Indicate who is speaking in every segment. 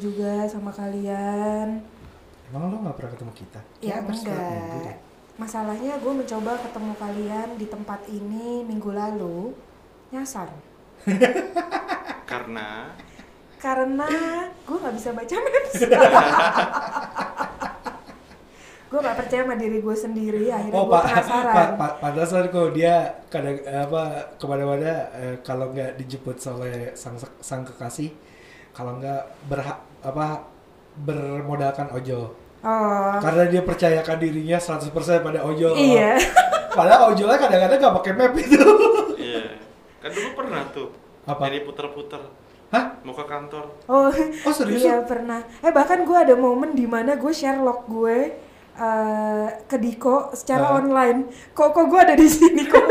Speaker 1: rumah kalian.
Speaker 2: Emang lo nggak pernah ketemu kita?
Speaker 1: Ya,
Speaker 2: Kayaknya setiap
Speaker 1: enggak.
Speaker 2: minggu deh.
Speaker 1: Masalahnya gue mencoba ketemu kalian di tempat ini minggu lalu, nyasar.
Speaker 3: Karena
Speaker 1: Karena gue nggak bisa baca maps. gue nggak percaya sama diri gue sendiri, akhirnya
Speaker 2: Oh,
Speaker 1: gue
Speaker 2: Pak,
Speaker 1: penasaran.
Speaker 2: Pak, Pak, pantasan kok dia kadang eh, apa kemana-mana eh, kalau nggak dijemput oleh sang sang kekasih, kalau nggak berha- apa bermodalkan Ojo.
Speaker 1: Oh,
Speaker 2: Karena dia percayakan dirinya 100% pada Ojo.
Speaker 1: iya.
Speaker 2: Padahal ojolnya kadang-kadang nggak pakai map itu.
Speaker 3: iya. Kan dulu pernah tuh.
Speaker 2: Apa?
Speaker 3: Jadi puter-puter.
Speaker 2: Hah?
Speaker 3: Mau ke kantor.
Speaker 1: Oh,
Speaker 2: Oh, serius
Speaker 1: Iya pernah. Eh bahkan gue ada momen dimana gue Sherlock gue eh, ke Diko secara
Speaker 2: Ah.
Speaker 1: online. Kok kok gue ada di sini kok?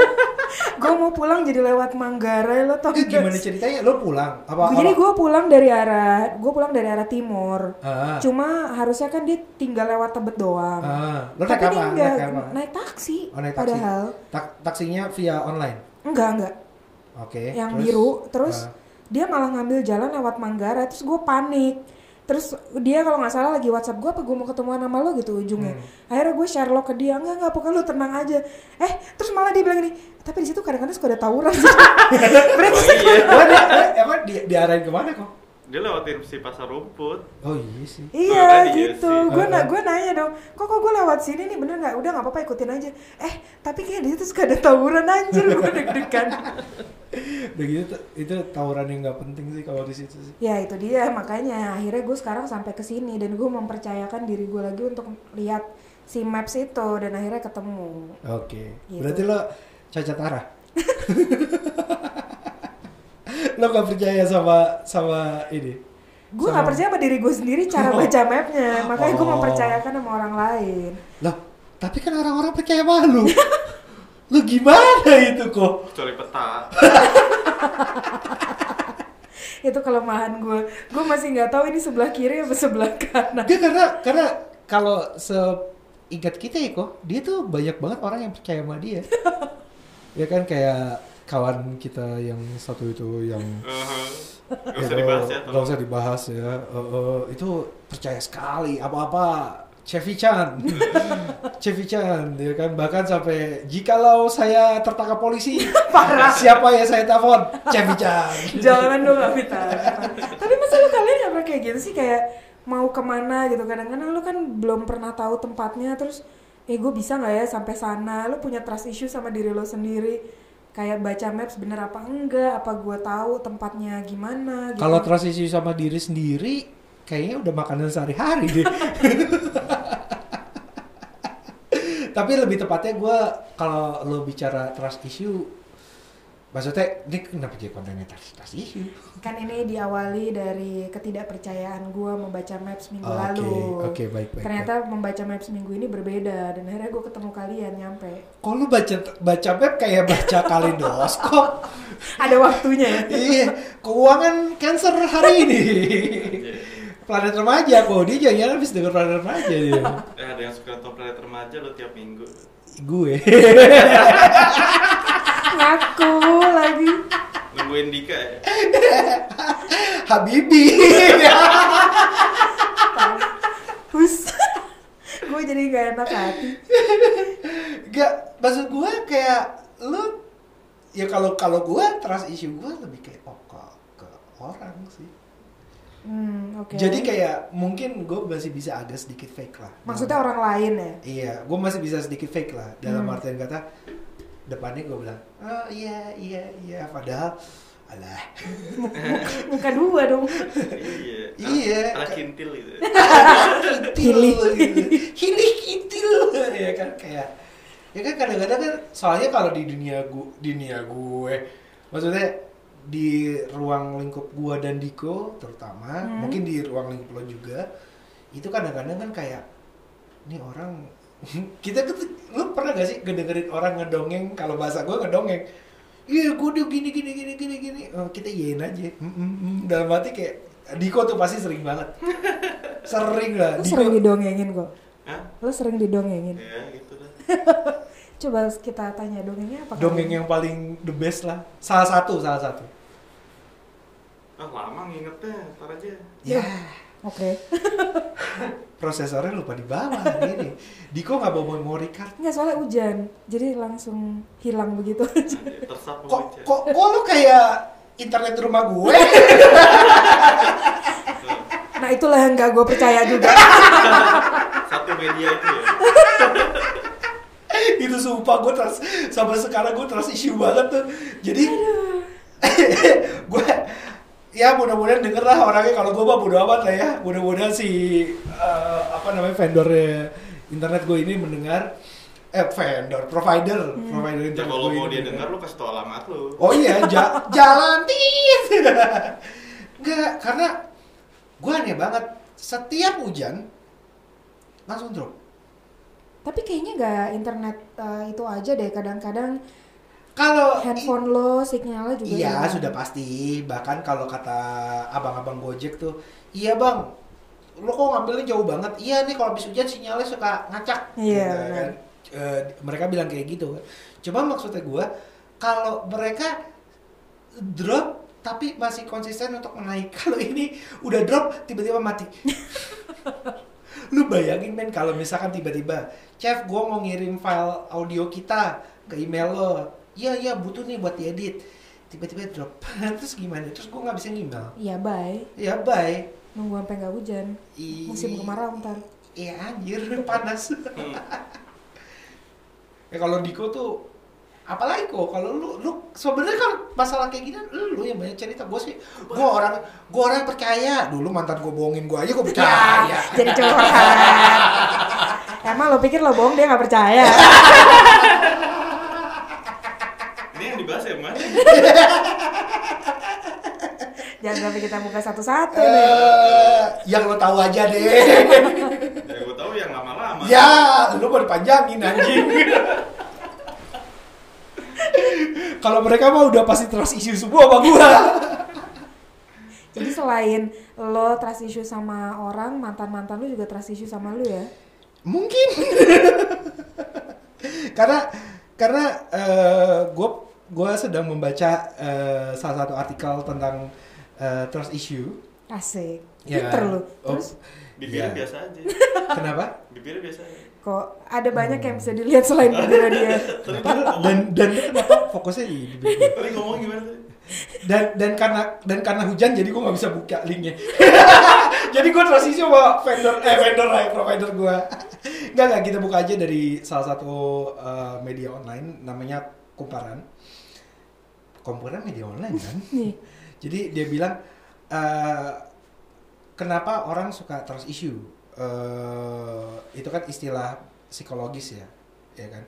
Speaker 1: gue mau pulang jadi lewat Manggarai lo tau
Speaker 2: Itu
Speaker 1: nggak?
Speaker 2: Eh, gimana ceritanya? Lo pulang? Apa?
Speaker 1: Jadi
Speaker 2: orang-
Speaker 1: gue pulang dari arah gue pulang dari arah timur.
Speaker 2: Ah,
Speaker 1: Cuma harusnya kan dia tinggal lewat Tebet doang.
Speaker 2: ah. Lo naik
Speaker 1: Tapi
Speaker 2: apa?
Speaker 1: dia
Speaker 2: Naik
Speaker 1: enggak
Speaker 2: apa?
Speaker 1: naik taksi.
Speaker 2: Oh, naik taksi.
Speaker 1: Padahal
Speaker 2: Tak- taksinya via online.
Speaker 1: enggak enggak
Speaker 2: Oke.
Speaker 1: yang
Speaker 2: terus?
Speaker 1: biru terus
Speaker 2: Ah.
Speaker 1: dia malah ngambil jalan lewat Manggarai terus gue panik terus dia kalau nggak salah lagi WhatsApp gue apa gue mau ketemuan sama lo gitu ujungnya
Speaker 2: Hmm.
Speaker 1: akhirnya gue Sherlock ke dia enggak enggak pokoknya lo tenang aja eh terus malah dia bilang gini tapi di situ kadang-kadang suka ada tawuran berarti
Speaker 2: Oh, Wah, dia, dia- emang di, diarahin kemana kok?
Speaker 3: Dia lewatin si pasar rumput.
Speaker 2: Oh iya sih.
Speaker 3: Nah,
Speaker 1: Iya
Speaker 3: tadi ya
Speaker 1: gitu,
Speaker 3: sih.
Speaker 1: gue
Speaker 2: Heeh.
Speaker 1: na gue nanya dong, kok kok gue lewat sini nih bener nggak? Udah nggak apa-apa ikutin aja. Eh tapi kayak di situ suka ada tawuran anjir gue deg-degan.
Speaker 2: Udah gitu tuh- itu tawuran yang nggak penting sih kalau di situ sih.
Speaker 1: ya itu dia makanya akhirnya gue sekarang sampai ke sini dan gue mempercayakan diri gue lagi untuk lihat si maps itu dan akhirnya ketemu.
Speaker 2: Oke.
Speaker 1: Gitu.
Speaker 2: Berarti lo cacat arah. lo gak percaya sama sama ini?
Speaker 1: Gue nggak
Speaker 2: Sama-
Speaker 1: percaya sama diri gue sendiri cara baca mapnya, makanya gue
Speaker 2: Oh.
Speaker 1: mempercayakan sama orang lain.
Speaker 2: Loh, tapi kan orang-orang percaya sama lu. lu gimana itu kok?
Speaker 3: Kecuali peta.
Speaker 1: Itu kelemahan gue. Gue masih nggak tahu ini sebelah kiri apa sebelah kanan.
Speaker 2: Dia karena karena kalau seingat kita ya kok, dia tuh banyak banget orang yang percaya sama dia. ya kan kayak kawan kita yang satu itu yang
Speaker 3: Uh-huh. Gak usah
Speaker 2: Ya,
Speaker 3: dibahas ya.
Speaker 2: Gak
Speaker 3: tolong.
Speaker 2: usah dibahas ya. Eh, eh, itu percaya sekali apa-apa Chevy Chan. Chevy Chan ya kan bahkan sampai jikalau saya tertangkap polisi siapa ya saya telepon? Chevy Chan.
Speaker 1: Jangan dong gak minta. Tapi masa lu kalian gak pernah kayak gitu sih kayak mau kemana gitu kadang-kadang lu kan belum pernah tahu tempatnya terus eh gue bisa nggak ya sampai sana lu punya trust issue sama diri lo sendiri kayak baca maps bener apa enggak apa gue tahu tempatnya gimana gitu.
Speaker 2: Kalau transisi sama diri sendiri kayaknya udah makanan sehari-hari deh. Tapi lebih tepatnya gue kalau lo bicara trust issue maksudnya ini kenapa jadi kontennya trust, trust issue?
Speaker 1: kan ini diawali dari ketidakpercayaan gue membaca maps minggu
Speaker 2: Oh, Oke,
Speaker 1: lalu
Speaker 2: oke, baik, baik,
Speaker 1: ternyata membaca maps minggu ini berbeda dan akhirnya gue ketemu kalian nyampe
Speaker 2: Kok lu baca baca web kayak baca kaleidoskop?
Speaker 1: ada waktunya ya
Speaker 2: Iya, keuangan cancer hari ini.
Speaker 3: Iya.
Speaker 2: Planet remaja kok dia jangan habis denger planet remaja dia.
Speaker 3: Eh, ada yang suka top planet remaja lo tiap minggu.
Speaker 2: Gue.
Speaker 1: ngaku lagi
Speaker 3: Nungguin Dika ya.
Speaker 2: Habibi.
Speaker 1: Hus. gue jadi gak enak hati.
Speaker 2: Gak, maksud gue kayak lu ya kalau kalau gue trust issue gue lebih kayak oh, ke, ke orang sih.
Speaker 1: Hmm, oke.
Speaker 2: Jadi kayak mungkin gue masih bisa agak sedikit fake lah.
Speaker 1: maksudnya orang lain ya?
Speaker 2: Iya, gue masih bisa sedikit fake lah dalam
Speaker 1: Hmm.
Speaker 2: artian kata depannya gue bilang oh iya iya iya padahal alah
Speaker 1: Muka dua dong.
Speaker 3: Iya.
Speaker 2: Iya.
Speaker 3: Anak kintil gitu.
Speaker 2: hilih gitu. hilih kintil ya kan kayak ya kan kadang-kadang kan soalnya kalau di dunia gue dunia gue maksudnya di ruang lingkup gue dan Diko terutama
Speaker 1: Hmm.
Speaker 2: mungkin di ruang lingkup lo juga itu kadang-kadang kan kayak ini orang kita tuh lu pernah gak sih ngedengerin orang ngedongeng kalau bahasa gue ngedongeng iya gue dia gini gini gini gini gini oh, kita yein aja Mm, mm, mm. dalam hati kayak Diko tuh pasti sering banget sering lah
Speaker 1: Lo
Speaker 2: Diko
Speaker 1: sering didongengin kok.
Speaker 3: Hah?
Speaker 1: Lo sering didongengin.
Speaker 3: Ya gitu lah.
Speaker 1: Coba kita tanya dongengnya apa?
Speaker 2: dongeng yang paling the best lah salah satu salah satu
Speaker 3: Ah lama ngingetnya, ntar aja.
Speaker 1: Ya.
Speaker 2: ya
Speaker 1: Oke.
Speaker 2: prosesornya lupa dibawa ini Diko nggak bawa memory card
Speaker 1: Enggak soalnya hujan, jadi langsung hilang begitu aja.
Speaker 3: Tersap
Speaker 2: kok
Speaker 3: sama hujan.
Speaker 2: kok kok lu kayak internet rumah gue
Speaker 3: Tuh,
Speaker 1: Nah itulah yang gak gue percaya juga.
Speaker 3: Satu media itu ya.
Speaker 2: itu sumpah gue terus sampai sekarang gue terus isu banget tuh jadi gue ya mudah-mudahan denger lah orangnya kalau gue mah bodo amat lah ya mudah-mudahan si eh, apa namanya vendor internet gue ini mendengar eh vendor provider provider
Speaker 3: Ya
Speaker 2: internet
Speaker 3: kalau
Speaker 2: gue ini
Speaker 3: mau dia
Speaker 2: mendengar.
Speaker 3: dengar lu kasih tau alamat lu.
Speaker 2: Oh iya, ja- jalan tit. Enggak, karena gue aneh banget. Setiap hujan langsung drop.
Speaker 1: Tapi kayaknya gak internet eh, itu aja deh. Kadang-kadang
Speaker 2: Kalau i-
Speaker 1: handphone lo sinyalnya juga. ya,
Speaker 2: iya
Speaker 1: hilang.
Speaker 2: sudah pasti. Bahkan kalau kata abang-abang Gojek tuh, iya bang, lo kok ngambilnya jauh banget? Iya nih kalau habis hujan sinyalnya suka ngacak.
Speaker 1: Iya,
Speaker 2: Gitu kan. Eh, mereka bilang kayak gitu. Cuma maksudnya gue, kalau mereka drop tapi masih konsisten untuk menaik. Kalau ini udah drop tiba-tiba mati. lu bayangin men kalau misalkan tiba-tiba chef gue mau ngirim file audio kita ke email lo iya iya butuh nih buat diedit tiba-tiba drop terus gimana terus gue nggak bisa email
Speaker 1: Iya bye.
Speaker 2: ya bye
Speaker 1: Nunggu sampai gak hujan.
Speaker 2: I-
Speaker 1: Musim kemarau ntar.
Speaker 2: iya anjir panas
Speaker 3: Hmm.
Speaker 2: ya kalau Diko tuh apalagi kok kalau lu lu sebenarnya kalau masalah kayak gini lu yang banyak cerita gue sih gue orang gue orang yang percaya dulu mantan gue bohongin gue aja gue percaya
Speaker 1: Ya, jadi curhat. Emang lo pikir lo bohong dia gak percaya?
Speaker 3: Ini yang dibahas ya, Mas.
Speaker 1: Jangan sampai kita buka satu-satu nih.
Speaker 2: eh yang lo tahu aja deh
Speaker 3: Ya gua tahu yang lama-lama.
Speaker 2: Ya, lu mau dipanjangin anjing. Kalau mereka mah udah pasti trust issue semua sama gua.
Speaker 1: Jadi selain lo trust issue sama orang, mantan-mantan lo juga trust issue sama lo ya?
Speaker 2: Mungkin. karena karena eh, gua gua sedang membaca eh, salah satu artikel tentang eh, trust issue.
Speaker 1: Asik.
Speaker 2: Ya.
Speaker 1: Pinter lo.
Speaker 2: Oh.
Speaker 1: Terus
Speaker 3: Bibirnya
Speaker 2: Iya.
Speaker 3: biasa aja.
Speaker 2: Kenapa?
Speaker 3: Bibirnya biasa aja.
Speaker 1: kok ada banyak yang bisa dilihat selain bibirnya dia.
Speaker 2: Kenapa? Dan dan lu kenapa fokusnya di di bibir gua?
Speaker 3: Tadi ngomong gimana tadi?
Speaker 2: dan dan karena dan karena hujan jadi gue nggak bisa buka linknya jadi gue transisi sama vendor eh vendor lah provider gue nggak nggak kita buka aja dari salah satu eh, media online namanya kumparan kumparan media online kan
Speaker 1: Nih.
Speaker 2: jadi dia bilang eh, kenapa orang suka trust issue Eh, itu kan istilah psikologis ya ya kan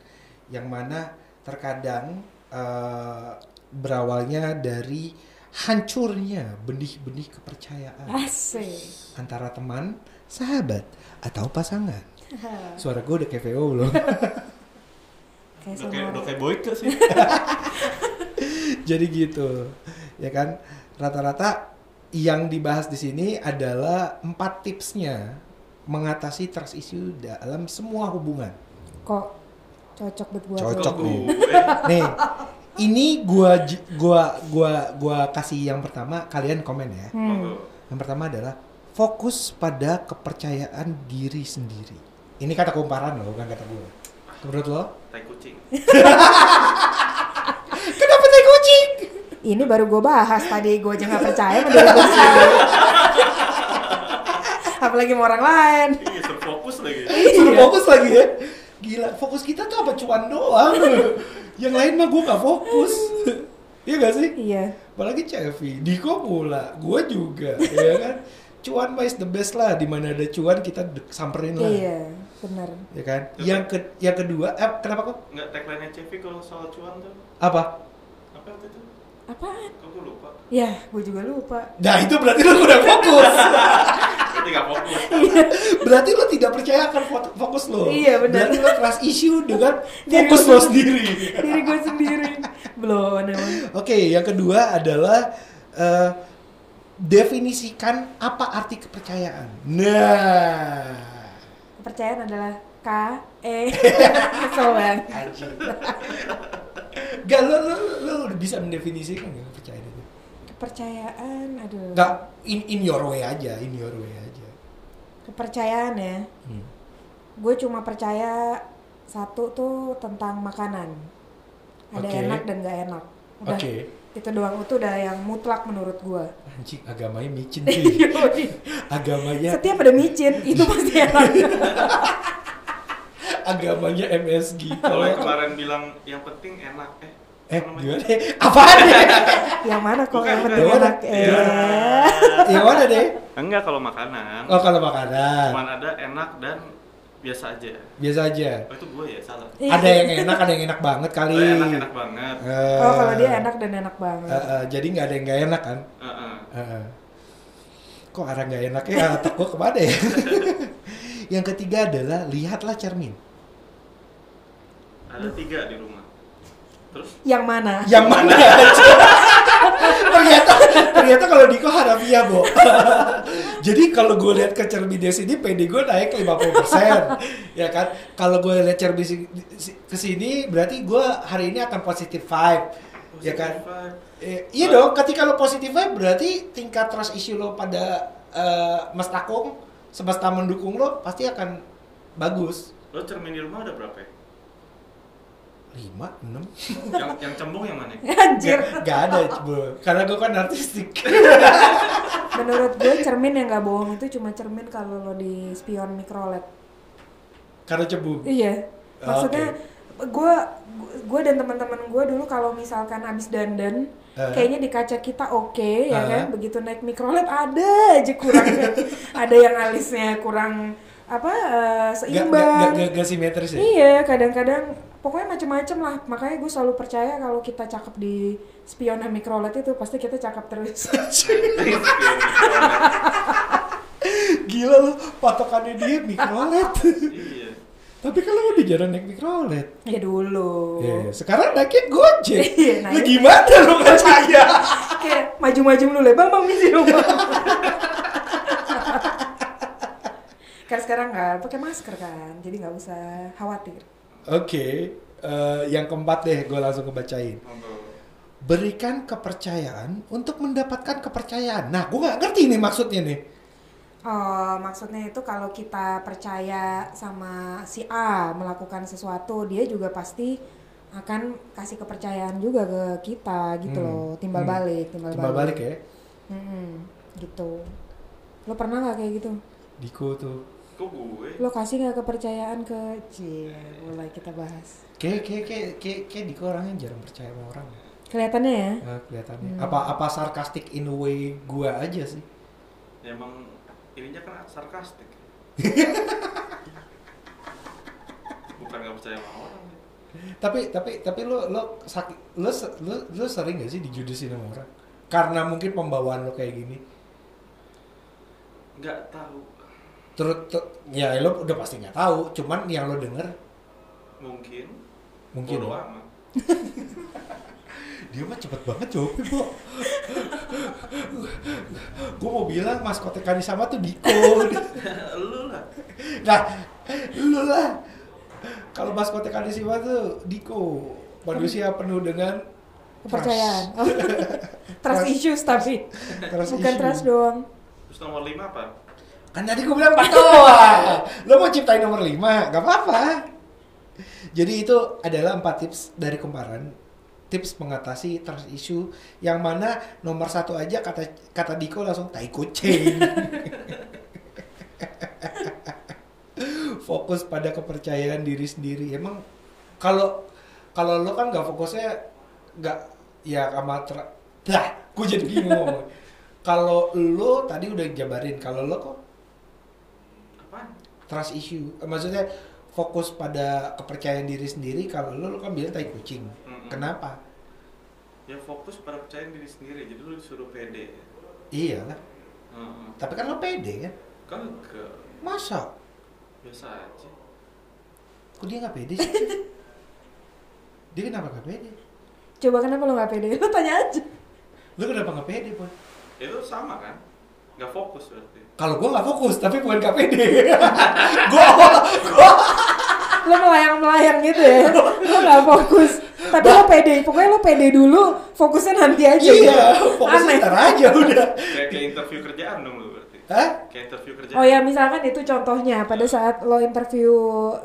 Speaker 2: yang mana terkadang eh, berawalnya dari hancurnya benih-benih kepercayaan
Speaker 1: Asik.
Speaker 2: antara teman, sahabat atau pasangan. Suara gue udah kayak VO belum?
Speaker 1: Kayak
Speaker 3: Udah kayak
Speaker 1: sama
Speaker 3: udah kayak boyke sih.
Speaker 2: Jadi gitu, ya kan? Rata-rata yang dibahas di sini adalah empat tipsnya mengatasi trust issue dalam semua hubungan.
Speaker 1: kok cocok buat gua.
Speaker 2: Cocok
Speaker 3: Kok
Speaker 2: nih.
Speaker 3: gue?
Speaker 2: Nih, ini gua j- gua gua gua kasih yang pertama kalian komen ya.
Speaker 1: Hmm.
Speaker 2: Yang pertama adalah fokus pada kepercayaan diri sendiri. Ini kata kumparan loh, bukan kata gue. Menurut lo?
Speaker 3: Tai kucing.
Speaker 2: Kenapa tai kucing?
Speaker 1: Ini baru gua bahas tadi gua aja nggak percaya sama diri gua sendiri. Apalagi sama orang lain.
Speaker 3: Iya, terfokus lagi.
Speaker 2: Suruh
Speaker 1: Iya.
Speaker 2: fokus lagi ya. Gila, fokus kita tuh apa cuan doang. Yang lain mah gue gak fokus. Iya gak sih?
Speaker 1: Iya.
Speaker 2: Apalagi Cevi, Diko pula, gue juga, ya kan? Cuan mah is the best lah, dimana ada cuan kita de- samperin lah,
Speaker 1: Iya, benar.
Speaker 2: ya kan? Yang ke yang kedua, eh, kenapa kok?
Speaker 3: Enggak tagline-nya Cevi kalau soal cuan tuh.
Speaker 2: Apa?
Speaker 3: Apa waktu itu?
Speaker 1: Apaan?
Speaker 3: Kok gue lupa?
Speaker 1: Ya, gua juga lupa.
Speaker 2: Nah itu berarti lo udah fokus.
Speaker 3: Berarti gak fokus.
Speaker 2: Iya. berarti lo tidak percaya akan fo- fokus lo.
Speaker 1: Iya, benar.
Speaker 2: Berarti lo trust issue dengan
Speaker 1: Diri
Speaker 2: fokus
Speaker 1: lo
Speaker 2: lo sendiri.
Speaker 1: Diri gua sendiri. Belum emang.
Speaker 2: Oke, yang kedua adalah eh, definisikan apa arti kepercayaan. Nah,
Speaker 1: Kepercayaan adalah K E kesel banget.
Speaker 2: gak lo, lo, lo udah bisa mendefinisikan gak kepercayaan itu?
Speaker 1: Kepercayaan aduh.
Speaker 2: Gak in, in your way aja, in your way aja.
Speaker 1: kepercayaan ya
Speaker 2: Hmm.
Speaker 1: gue cuma percaya satu tuh tentang makanan ada
Speaker 2: Oke.
Speaker 1: enak dan gak enak udah
Speaker 2: Oke.
Speaker 1: itu doang itu udah yang mutlak menurut gue
Speaker 2: Anjing agamanya micin sih.
Speaker 1: Iya.
Speaker 2: agamanya
Speaker 1: setiap ada micin itu pasti enak
Speaker 2: agamanya MSG.
Speaker 3: Kalau yang
Speaker 2: Kalau
Speaker 3: kemarin bilang yang penting enak eh.
Speaker 2: eh
Speaker 3: apa namanya?
Speaker 2: gimana? Apaan deh?
Speaker 1: yang mana kok
Speaker 3: Bukan,
Speaker 1: yang
Speaker 3: bukan.
Speaker 1: penting
Speaker 2: Yang
Speaker 1: enak
Speaker 2: mana?
Speaker 1: eh
Speaker 2: Yang Ya, mana deh?
Speaker 3: Iya. Enggak kalau makanan.
Speaker 2: Oh kalau makanan
Speaker 3: Cuman ada enak dan biasa aja.
Speaker 2: biasa aja.
Speaker 3: Oh itu gue ya salah.
Speaker 1: Iya.
Speaker 2: Ada yang enak, ada yang enak banget
Speaker 3: Oh,
Speaker 2: kali.
Speaker 3: enak enak banget.
Speaker 2: Iya. Eh,
Speaker 1: oh kalau dia enak dan enak
Speaker 2: eh,
Speaker 1: banget
Speaker 2: eh, jadi nggak ada yang nggak enak kan?
Speaker 3: Heeh.
Speaker 2: Heeh. Kok arah nggak enaknya ya, otak gua kemana ya? yang ketiga adalah lihatlah cermin.
Speaker 3: Ada tiga di rumah. Terus
Speaker 1: yang mana
Speaker 2: Yang mana? aja? ternyata ternyata kalau Diko harafiah, Bo. Jadi kalau gue lihat ke cermin di sini, PD gue naik 50%. ya kan? Kalau gue lihat cermin si- si- ke sini, berarti gue hari ini akan positive vibe.
Speaker 3: oh,
Speaker 2: ya kan?
Speaker 3: Positive vibe.
Speaker 2: Eh, iya dong, ketika lo positive vibe berarti tingkat trust issue lo pada eh, Mas Takung, semesta mendukung lo pasti akan bagus.
Speaker 3: Lo cermin di rumah ada berapa ya?
Speaker 2: 5, 6.
Speaker 3: yang, yang cembung yang mana?
Speaker 1: anjir
Speaker 2: Gak ada, bro. Karena gue kan artistik.
Speaker 1: menurut gue cermin yang gak bohong itu cuma cermin kalau lo di spion micro LED
Speaker 2: Karena cebung.
Speaker 1: Iya.
Speaker 2: Ah,
Speaker 1: Maksudnya gue gue dan teman-teman gue dulu kalau misalkan habis dandan
Speaker 2: Ah.
Speaker 1: kayaknya di kaca kita oke ya
Speaker 2: Ah.
Speaker 1: kan begitu naik mikrolet ada aja kurangnya ada yang alisnya kurang apa eh,
Speaker 2: Gak, gak, gak,
Speaker 1: seimbang
Speaker 2: gak- gak simetris ya?
Speaker 1: iya kadang-kadang pokoknya macem-macem lah makanya gue selalu percaya kalau kita cakep di spion dan mikrolet itu pasti kita cakep terus
Speaker 2: Gila lo, patokannya dia mikrolet.
Speaker 3: iya.
Speaker 2: Tapi kan lo udah jarang naik mikrolet.
Speaker 1: ya dulu
Speaker 2: Iya, sekarang naiknya gojek.
Speaker 1: Iya,
Speaker 2: Lo
Speaker 1: naik.
Speaker 2: gimana lo percaya?
Speaker 1: kayak maju-maju dulu lah bang bang misi dong Bang." kan sekarang nggak pakai masker kan jadi nggak usah khawatir
Speaker 2: Oke, eh, yang keempat deh gue langsung kebacain.
Speaker 3: Ngobrol.
Speaker 2: berikan kepercayaan untuk mendapatkan kepercayaan. Nah, gue nggak ngerti nih maksudnya nih.
Speaker 1: oh maksudnya itu kalau kita percaya sama si A melakukan sesuatu dia juga pasti akan kasih kepercayaan juga ke kita gitu
Speaker 2: Hmm.
Speaker 1: loh timbal
Speaker 2: Hmm.
Speaker 1: balik timbal,
Speaker 2: Coba
Speaker 1: balik,
Speaker 2: balik ya,
Speaker 1: Mm-mm, gitu lo pernah nggak kayak gitu
Speaker 2: Diko tuh.
Speaker 3: Kok gue?
Speaker 1: lo kasih nggak kepercayaan ke Cie, mulai kita bahas
Speaker 2: Kayak kayak kayak kayak, kayak Diko orangnya jarang percaya sama orang.
Speaker 1: kelihatannya ya
Speaker 2: Nah, kelihatannya.
Speaker 1: Hmm.
Speaker 2: Apa apa sarkastik in a way gue aja sih.
Speaker 3: Ya, emang ininya kan sarkastik. Bukan nggak percaya sama orang. ya.
Speaker 2: Tapi tapi tapi lo lo sakit lo se- lo, lo sering gak sih dijudesin sama orang? Karena mungkin pembawaan lo kayak gini.
Speaker 3: Nggak tahu.
Speaker 2: Terus ter- ya lo udah pasti nggak tahu. Cuman yang lo denger
Speaker 3: Mungkin.
Speaker 2: mungkin. ya.
Speaker 3: Bodo amat.
Speaker 2: dia mah cepet banget jawabnya bu gue mau bilang maskotnya kali sama tuh Diko
Speaker 3: Lu lah.
Speaker 2: nah lu lah kalau maskotnya kali sama tuh Diko manusia penuh dengan
Speaker 1: kepercayaan
Speaker 2: trust.
Speaker 1: oh. trust
Speaker 2: Trust.
Speaker 1: issues tapi
Speaker 2: Trust
Speaker 1: bukan
Speaker 2: issue.
Speaker 1: trust doang
Speaker 3: Terus nomor lima apa?
Speaker 2: kan tadi gue bilang empat doang lo mau ciptain nomor lima gak apa-apa jadi itu adalah empat tips dari kumparan tips mengatasi trust issue yang mana nomor satu aja kata kata Diko langsung tai kucing fokus pada kepercayaan diri sendiri emang kalau kalau lo kan gak fokusnya gak ya sama tra- dah gue jadi bingung ngomong. kalau lo tadi udah jabarin kalau lo kok
Speaker 3: Apaan?
Speaker 2: trust issue Eh, maksudnya fokus pada kepercayaan diri sendiri kalau lo lo kan bilang tai kucing
Speaker 3: Mm-mm.
Speaker 2: kenapa
Speaker 3: Ya fokus pada percaya diri sendiri. Jadi lu disuruh pede.
Speaker 2: iya lah
Speaker 3: Heeh.
Speaker 2: tapi kan lo pede kan
Speaker 3: Kagak.
Speaker 2: masa
Speaker 3: Biasa aja.
Speaker 2: kok dia nggak pede sih dia kenapa nggak pede
Speaker 1: coba kenapa lo nggak pede lo tanya aja
Speaker 2: lo kenapa nggak pede boy
Speaker 3: Itu sama kan? Nggak fokus berarti.
Speaker 2: kalau gue nggak fokus tapi bukan nggak pede gue
Speaker 1: lo melayang melayang gitu ya lo nggak fokus tapi lo pede pokoknya lo pede dulu fokusnya nanti aja
Speaker 2: Iya,
Speaker 1: gitu.
Speaker 2: fokusnya
Speaker 1: aneh
Speaker 2: ntar aja udah.
Speaker 3: Kayak kayak interview kerjaan dong lu berarti.
Speaker 2: Hah?
Speaker 3: kayak interview kerja
Speaker 1: Oh ya misalkan itu contohnya pada
Speaker 2: Hmm.
Speaker 1: saat lo interview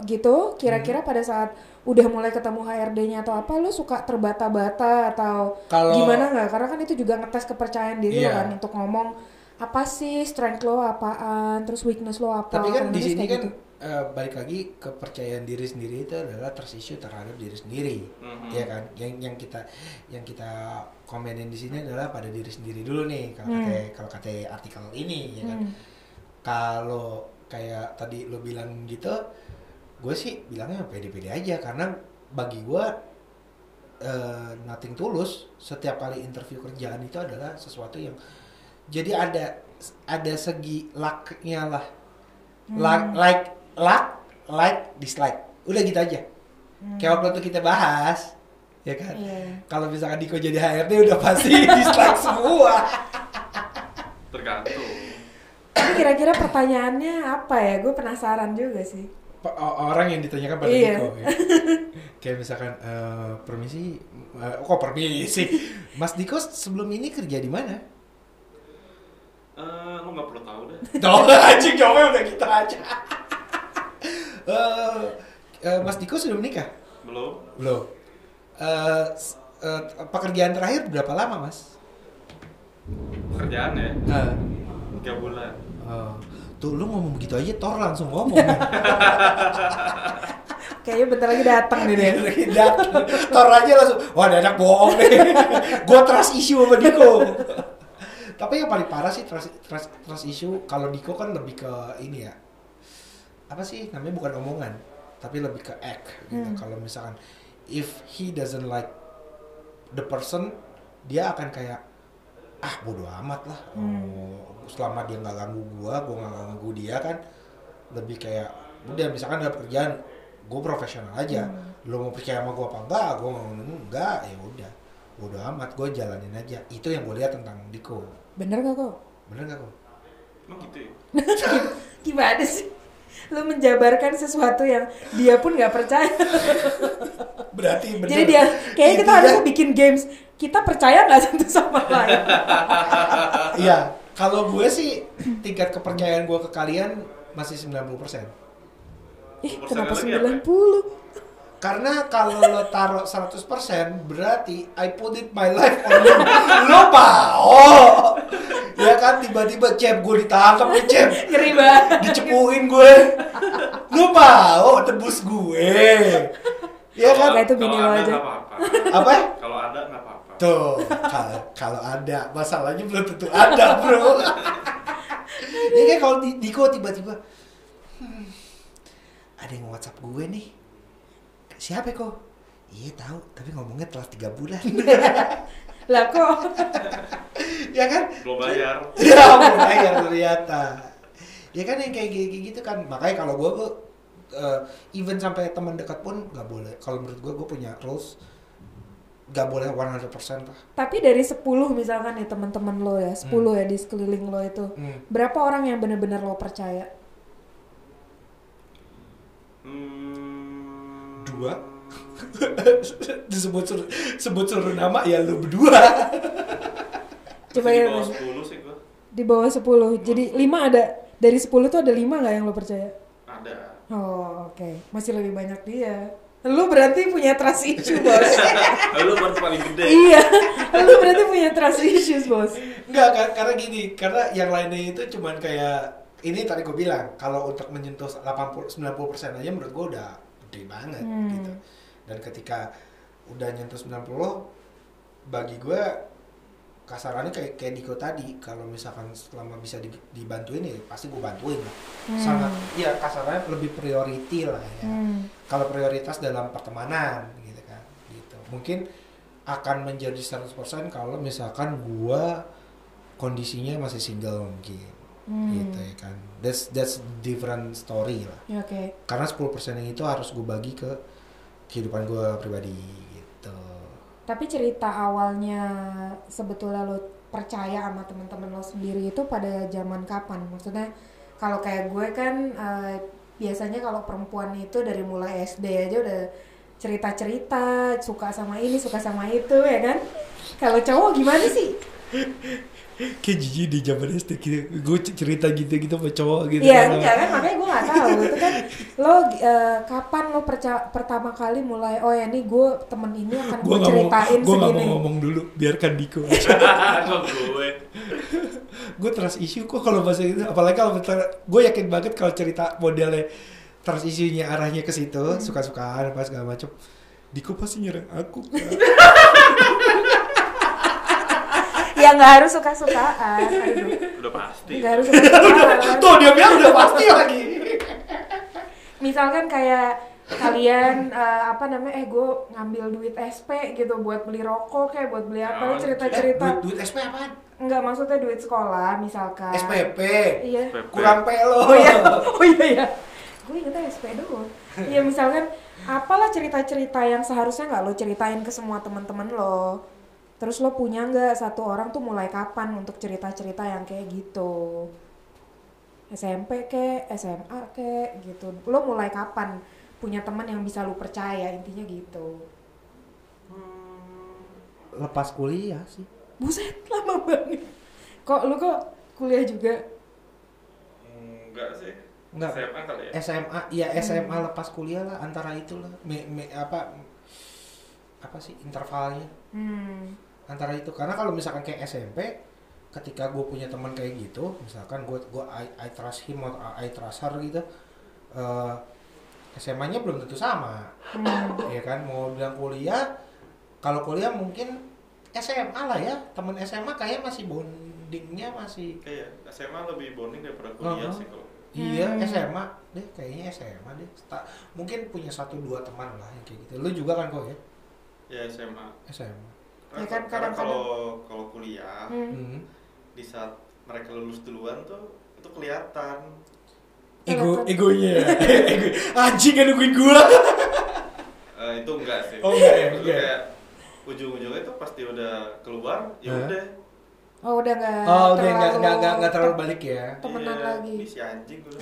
Speaker 1: gitu, kira-kira pada saat udah mulai ketemu HRD-nya atau apa, lo suka terbata-bata atau
Speaker 2: Kalau-
Speaker 1: gimana nggak? Karena kan itu juga ngetes kepercayaan diri lo
Speaker 2: Iya.
Speaker 1: kan untuk ngomong apa sih strength lo apaan, terus weakness lo apa.
Speaker 2: Tapi kan di
Speaker 1: otomatis
Speaker 2: sini
Speaker 1: kayak
Speaker 2: kan
Speaker 1: gitu.
Speaker 2: eh, balik lagi kepercayaan diri sendiri itu adalah trust issue terhadap diri sendiri,
Speaker 3: Mhm.
Speaker 2: ya kan? Yang yang kita yang kita komenin di sini adalah pada diri sendiri dulu nih kalau
Speaker 1: Hmm.
Speaker 2: kata kalau kata artikel ini, ya kan?
Speaker 1: Hmm.
Speaker 2: Kalau kayak tadi lo bilang gitu, gue sih bilangnya pede-pede aja karena bagi gue eh, nothing tulus setiap kali interview kerjaan itu adalah sesuatu yang jadi ada ada segi lucknya lah like like like like dislike udah gitu aja kayak waktu itu kita bahas ya kan
Speaker 1: Iya.
Speaker 2: kalau misalkan Diko jadi HRD udah pasti dislike semua
Speaker 3: tergantung
Speaker 1: Tapi kira-kira pertanyaannya apa ya? Gue penasaran juga sih.
Speaker 2: Pe- o- orang yang ditanyakan pada
Speaker 1: Iya.
Speaker 2: Diko ya. kayak misalkan eh, permisi eh, kok permisi Mas Diko sebelum ini kerja di mana
Speaker 3: Eh, lo nggak perlu tahu deh
Speaker 2: Tuh, anjing jawabnya udah gitu aja Eh, eh, Mas Diko sudah menikah
Speaker 3: belum
Speaker 2: belum Eh, s- eh, pekerjaan terakhir berapa lama mas
Speaker 3: pekerjaan ya
Speaker 2: Eh,
Speaker 3: tiga bulan
Speaker 2: Oh. Tuh lu ngomong begitu aja Thor langsung ngomong.
Speaker 1: Kayaknya bentar lagi datang nih dia.
Speaker 2: Dan Thor aja langsung, wah ini anak bohong nih. Gua trust issue sama Diko. Tapi yang paling parah sih trust, trust, trust issue kalau Diko kan lebih ke ini ya. Apa sih namanya bukan omongan, tapi lebih ke act gitu.
Speaker 1: Hmm.
Speaker 2: Kalau misalkan if he doesn't like the person, dia akan kayak ah bodo amat lah.
Speaker 1: Hmm.
Speaker 2: Oh, selama dia nggak ganggu gua, gua nggak ganggu dia kan. Lebih kayak udah misalkan ada pekerjaan, gua profesional aja.
Speaker 1: Hmm.
Speaker 2: Lo mau percaya sama gua apa enggak? Gua mau enggak, ya udah. Bodo amat, gua jalanin aja. Itu yang gua lihat tentang Diko.
Speaker 1: Bener gak kok?
Speaker 2: Bener nggak kok?
Speaker 3: emang gitu ya
Speaker 1: Gimana sih? Lo menjabarkan sesuatu yang dia pun nggak percaya.
Speaker 2: Berarti bener. Iya,
Speaker 1: Jadi dia kayaknya kita
Speaker 2: Intinya-
Speaker 1: harus bikin games. Kita percaya nggak satu sama lain?
Speaker 2: Iya, kalau gue sih tingkat kepercayaan gua ke kalian masih
Speaker 1: Ih,
Speaker 2: 90%. ya.
Speaker 3: Persen
Speaker 1: kenapa
Speaker 3: lagi apa?
Speaker 1: 90?
Speaker 2: Karena kalau lo taruh 100% berarti I put it my life on you. Lo mau. Ya kan tiba-tiba cep gue ditangkap nih cep.
Speaker 1: Ngeri banget.
Speaker 2: Dicepuin gue. Lo mau tebus gue. Ya
Speaker 1: Iya,
Speaker 2: kan?
Speaker 3: Kalau-
Speaker 1: Nggak, itu bini lo
Speaker 3: kalau ada
Speaker 1: aja.
Speaker 3: nggak apa-apa
Speaker 2: Apa?
Speaker 3: kalau ada nggak apa-apa
Speaker 2: Tuh, kalau kalau ada masalahnya belum tentu ada, Bro. Ini kayak kalau di- Diko tiba-tiba "Hmm, ada yang WhatsApp gue nih. Siapa ya, kok? Iya tahu, tapi ngomongnya telah tiga bulan.
Speaker 1: Lah kok?
Speaker 2: ya kan?
Speaker 3: belum bayar
Speaker 2: Ya ampun, bayar ternyata. Ya kan yang kayak gini gitu kan. Makanya kalau gue gue eh, even sampai teman dekat pun nggak boleh. Kalau menurut gue gue punya rules nggak boleh 100% lah.
Speaker 1: Tapi dari 10 misalkan ya teman-teman lo ya, 10 ya di sekeliling lo itu.
Speaker 2: Hmm.
Speaker 1: Berapa orang yang bener-bener lo percaya?
Speaker 3: hmm,
Speaker 2: Dua. disebut suruh, sebut suruh nama ya lu berdua
Speaker 1: Coba
Speaker 3: masih
Speaker 1: ya,
Speaker 3: di bawah
Speaker 1: Mas.
Speaker 3: sepuluh sih gua
Speaker 1: Di bawah 10. Jadi 5 ada dari 10 tuh ada 5 nggak yang lo percaya?
Speaker 3: ada
Speaker 1: Oh, oke. Masih lebih banyak dia. Lu berarti punya trust issue, Bos.
Speaker 3: lu baru paling gede
Speaker 1: iya. Lu berarti punya trust issues, Bos.
Speaker 2: nggak ka- karena gini karena yang lainnya itu cuman kayak ini tadi gue bilang kalau untuk menyentuh 80 90 persen aja menurut gue udah gede banget
Speaker 1: Hmm.
Speaker 2: gitu dan ketika udah nyentuh 90 bagi gue kasarannya kayak kayak Diko tadi kalau misalkan selama bisa di- dibantuin ya pasti gue bantuin lah
Speaker 1: Hmm.
Speaker 2: sangat ya kasarannya lebih priority lah ya
Speaker 1: Hmm.
Speaker 2: kalau prioritas dalam pertemanan gitu kan gitu mungkin akan menjadi 100% kalau misalkan gua kondisinya masih single mungkin
Speaker 1: Hmm.
Speaker 2: gitu ya kan that's that's different story lah
Speaker 1: Ya, Oke.
Speaker 2: karena 10% yang itu harus gue bagi ke kehidupan gua pribadi gitu
Speaker 1: Tapi cerita awalnya sebetulnya lo percaya sama teman-teman lo sendiri itu pada zaman kapan? Maksudnya kalau kayak gue kan eh, biasanya kalau perempuan itu dari mulai SD aja udah cerita-cerita suka sama ini suka sama itu ya kan? Kalau cowok gimana sih?
Speaker 2: kayak jijik di zaman SD gitu. gue cerita gitu-gitu sama cowok gitu
Speaker 1: Iya,
Speaker 2: kan.
Speaker 1: enggak kan makanya gue nggak tahu itu kan lo eh, kapan lo perca- pertama kali mulai oh ya nih gue temen ini akan
Speaker 2: gue
Speaker 1: gue
Speaker 2: nggak mau
Speaker 1: ceritain
Speaker 2: gue nggak
Speaker 1: segini.
Speaker 2: mau ngomong dulu biarkan Diko
Speaker 3: Kok gue?
Speaker 2: gue trust issue kok kalau bahasa itu apalagi kalau gue yakin banget kalau cerita modelnya trust issue-nya arahnya ke situ
Speaker 1: Hmm.
Speaker 2: suka-sukaan apa segala macem Diko pasti nyerang aku kan.
Speaker 1: Ya nggak harus suka-sukaan. gitu. Aduh,
Speaker 3: Udah pasti.
Speaker 1: nggak harus suka-sukaan.
Speaker 2: tuh dia bilang Iya. udah pasti lagi
Speaker 1: Misalkan kayak kalian eh, apa namanya eh gue ngambil duit SP gitu buat beli rokok kayak buat beli apa
Speaker 3: Oh,
Speaker 2: Eh,
Speaker 1: cerita-cerita
Speaker 2: duit, duit SP apaan?
Speaker 1: nggak maksudnya duit sekolah misalkan
Speaker 2: SPP
Speaker 1: Nah. iya
Speaker 3: PP.
Speaker 2: kurang pelo
Speaker 1: Oh iya, oh iya ya. Gue ingetnya SP doang. Iya misalkan apalah cerita-cerita yang seharusnya nggak lo ceritain ke semua teman-teman lo. Terus lo punya nggak satu orang tuh mulai kapan untuk cerita-cerita yang kayak gitu? SMP ke, SMA ke, gitu. Lo mulai kapan punya teman yang bisa lo percaya intinya gitu.
Speaker 3: Hmm,
Speaker 2: lepas kuliah sih
Speaker 1: Buset lama banget. Kok lo kok kuliah juga?
Speaker 3: Enggak sih.
Speaker 2: Enggak.
Speaker 3: SMA kali ya.
Speaker 2: SMA ya
Speaker 1: Hmm.
Speaker 2: SMA lepas kuliah lah antara itulah me, me, apa apa sih intervalnya
Speaker 1: Hmm.
Speaker 2: antara itu karena kalau misalkan kayak SMP ketika gue punya teman kayak gitu misalkan gue gue I, I trust him or I trust her gitu eh SMA-nya belum tentu sama
Speaker 1: Hmm.
Speaker 2: ya kan mau bilang kuliah kalau kuliah mungkin SMA lah ya teman SMA kayak masih bondingnya masih
Speaker 3: Kayak SMA lebih bonding daripada kuliah
Speaker 2: Uh-huh.
Speaker 3: sih kalau.
Speaker 2: Iya
Speaker 1: Hmm.
Speaker 2: SMA deh kayaknya SMA deh Ta- mungkin punya satu dua teman lah yang kayak gitu lu juga kan kok ya
Speaker 3: Ya SMA.
Speaker 2: SMA
Speaker 1: Ya kan,
Speaker 3: Karena karena
Speaker 1: kadang-kadang-
Speaker 3: kalau kalau kuliah
Speaker 1: Hmm.
Speaker 2: hmm.
Speaker 3: di saat mereka lulus duluan tuh itu kelihatan.
Speaker 2: ego egonya ya Ego. anjing kan nungguin gua
Speaker 3: Eh, itu enggak sih.
Speaker 2: Oh, enggak ya,
Speaker 3: Maksudnya
Speaker 2: enggak ya.
Speaker 3: kayak ujung-ujungnya itu pasti udah keluar, ya
Speaker 2: Hah?
Speaker 3: udah.
Speaker 1: Oh udah nggak
Speaker 2: oh udah nggak nggak nggak nggak terlalu
Speaker 1: terlalu
Speaker 2: balik ya
Speaker 1: Temenan
Speaker 3: Iya,
Speaker 1: lagi.
Speaker 3: ih, si anjing gue.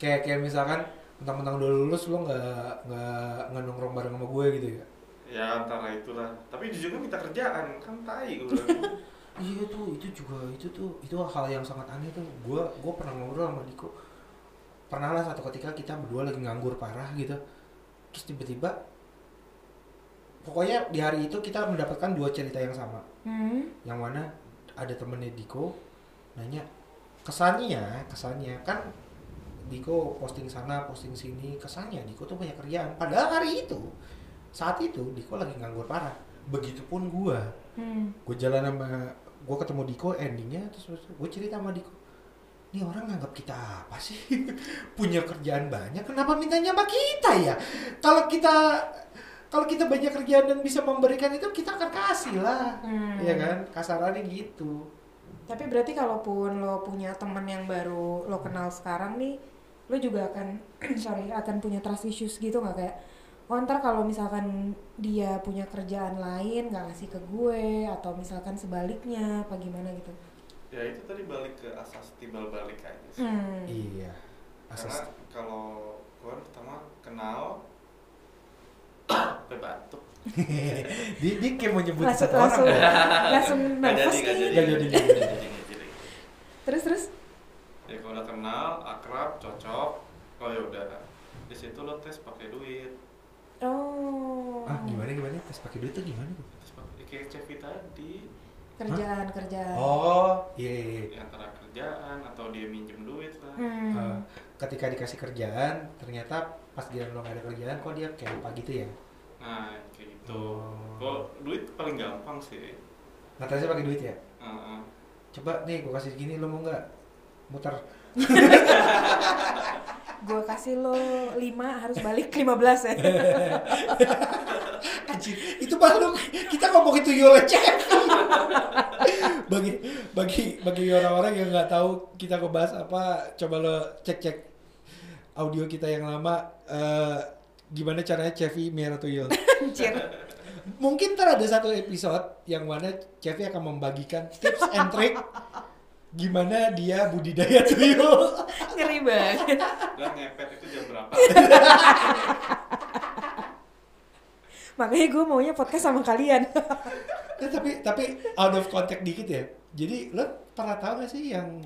Speaker 2: kayak kayak misalkan mentang-mentang udah lulus lu nggak nggak nggak nongkrong bareng sama gue gitu ya
Speaker 3: ya antara itulah. Tapi jujurnya minta kerjaan kan tai gue.
Speaker 2: iya tuh itu juga itu tuh itu hal yang sangat aneh tuh gue gue pernah ngobrol sama Diko pernah lah satu ketika kita berdua lagi nganggur parah gitu terus tiba-tiba pokoknya di hari itu kita mendapatkan dua cerita yang sama
Speaker 1: Hmm.
Speaker 2: yang mana ada temennya Diko nanya kesannya ya, kesannya kan Diko posting sana posting sini kesannya Diko tuh banyak kerjaan padahal hari itu saat itu Diko lagi nganggur parah begitupun gua
Speaker 1: Hmm.
Speaker 2: gue jalan sama gue ketemu Diko endingnya terus gue cerita sama Diko ini orang nganggap kita apa sih punya kerjaan banyak kenapa mintanya sama kita ya kalau kita kalau kita banyak kerjaan dan bisa memberikan itu kita akan kasih lah
Speaker 1: Hmm.
Speaker 2: Iya kan kasarannya gitu
Speaker 1: Tapi berarti kalaupun lo punya temen yang baru lo kenal sekarang nih, lo juga akan sorry akan punya trust issues gitu nggak kayak oh ntar kalau misalkan dia punya kerjaan lain nggak ngasih ke gue atau misalkan sebaliknya apa gimana gitu.
Speaker 3: ya itu tadi balik ke asas timbal balik aja sih.
Speaker 1: Hmm.
Speaker 2: iya asas
Speaker 3: Karena kalau gue pertama kenal sampai batuk.
Speaker 2: dia, dia kayak mau nyebut
Speaker 1: Langsung
Speaker 2: satu
Speaker 1: langsung
Speaker 2: orang ya.
Speaker 1: langsung
Speaker 3: Nggak
Speaker 1: nervous
Speaker 3: jadi,
Speaker 1: nih.
Speaker 3: nggak jadi,
Speaker 2: Nggak
Speaker 3: nggak
Speaker 2: jadi,
Speaker 3: jadi,
Speaker 2: nggak
Speaker 3: nggak jadi, nggak jadi.
Speaker 1: Terus terus.
Speaker 3: Ya kalau udah kenal, akrab, cocok, kalau ya udah di situ lo tes pakai duit,
Speaker 1: Oh.
Speaker 2: ah gimana gimana tes pakai duit tuh gimana
Speaker 3: tes pakai ya kayak Cevi tadi,
Speaker 1: Kerjaan kerjaan.
Speaker 2: oh iya iya iya.
Speaker 3: ya, antara kerjaan atau dia minjem duit lah.
Speaker 1: Hmm.
Speaker 2: Eh, ketika dikasih kerjaan ternyata pas dia belum ada kerjaan kok dia kayak lupa gitu ya
Speaker 3: Nah kayak gitu.
Speaker 2: Oh.
Speaker 3: Kalau duit paling gampang sih.
Speaker 2: Ngatasinya pakai duit ya?
Speaker 3: Heeh.
Speaker 2: Coba nih gue kasih gini lo mau nggak? Muter.
Speaker 1: Gue kasih lo 5 harus balik 15 ya.
Speaker 2: Anjir, itu malu. Kita ngomongin tuyul aja. bagi bagi bagi orang-orang yang nggak tahu kita ngebahas apa, coba lo cek-cek audio kita yang lama eh, gimana caranya Chevy miara tuyul.
Speaker 1: Anjir.
Speaker 2: Mungkin ntar ada satu episode yang mana Chevy akan membagikan tips and trick gimana dia budidaya tuyul.
Speaker 1: Ngeri banget.
Speaker 3: Dan ngepet itu jam berapa?
Speaker 1: Makanya gue maunya podcast sama kalian.
Speaker 2: Eh, tapi tapi out of contact dikit ya. Jadi lo pernah tahu gak sih yang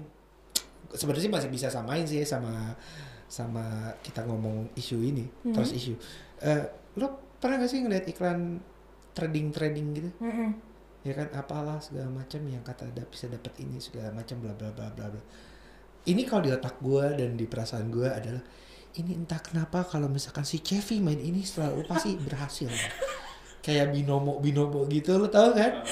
Speaker 2: sebenarnya sih masih bisa samain sih sama sama kita ngomong isu ini
Speaker 1: Mhm.
Speaker 2: terus isu. Eh, lo pernah gak sih ngeliat iklan trading trading gitu?
Speaker 1: Mm-mm.
Speaker 2: Ya kan apalah segala macam yang kata ada bisa dapat ini segala macam bla bla bla bla bla. Ini kalau di otak gue dan di perasaan gue adalah ini entah kenapa kalau misalkan si Chevy main ini selalu pasti berhasil. Kayak binomo binomo gitu lo tau kan?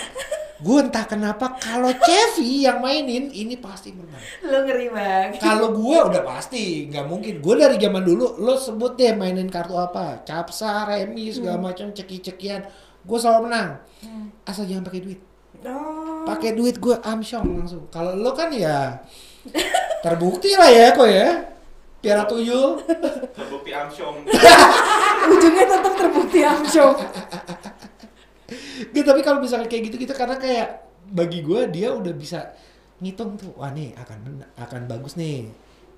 Speaker 2: gue entah kenapa kalau Chevy yang mainin ini pasti menang.
Speaker 1: Lo ngeri banget.
Speaker 2: Kalau gue udah pasti nggak mungkin. Gue dari zaman dulu lo sebut deh mainin kartu apa, capsa, remi segala macam ceki-cekian. Gue selalu menang.
Speaker 1: Hmm.
Speaker 2: Asal jangan pakai duit.
Speaker 1: Oh.
Speaker 2: Pakai duit gue amsyong langsung. Kalau lo kan ya terbukti lah ya kok ya. Piara tuyul.
Speaker 3: terbukti amsyong
Speaker 1: Ah, Ujungnya tetap terbukti amsyong.
Speaker 2: Gitu, tapi kalau misalkan kayak gitu gitu karena kayak bagi gue dia udah bisa ngitung tuh wah nih akan men- akan bagus nih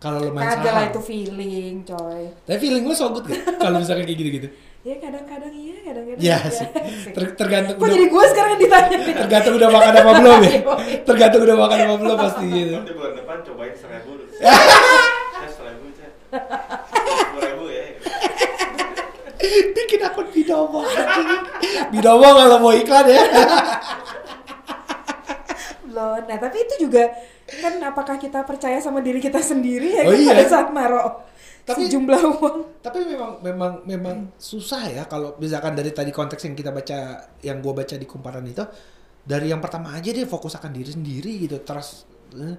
Speaker 2: kalau lo main
Speaker 1: Kagak lah
Speaker 2: saham.
Speaker 1: itu feeling, coy.
Speaker 2: Tapi feeling lo so good gak? Kalau misalkan kayak gitu-gitu.
Speaker 1: Ya kadang-kadang iya, kadang-kadang
Speaker 2: Ya
Speaker 1: iya.
Speaker 2: sih. Ter- tergantung
Speaker 1: Kok
Speaker 2: udah,
Speaker 1: jadi gue sekarang yang ditanya?
Speaker 2: tergantung udah makan apa belum ya. Tergantung udah makan apa belum pasti gitu.
Speaker 3: nanti bulan depan cobain seribu dulu Saya seribu cek dua ribu ya
Speaker 2: Bikin akun Binomo anjing. Binomo kalau mau iklan ya.
Speaker 1: Belum. Nah, tapi itu juga kan apakah kita percaya sama diri kita sendiri ya
Speaker 2: Oh,
Speaker 1: kan
Speaker 2: iya.
Speaker 1: pada saat naro
Speaker 2: Tapi-
Speaker 1: sejumlah uang.
Speaker 2: Tapi memang memang memang susah ya kalau misalkan dari tadi konteks yang kita baca yang gua baca di kumparan itu dari yang pertama aja deh fokus akan diri sendiri gitu. Terus eh,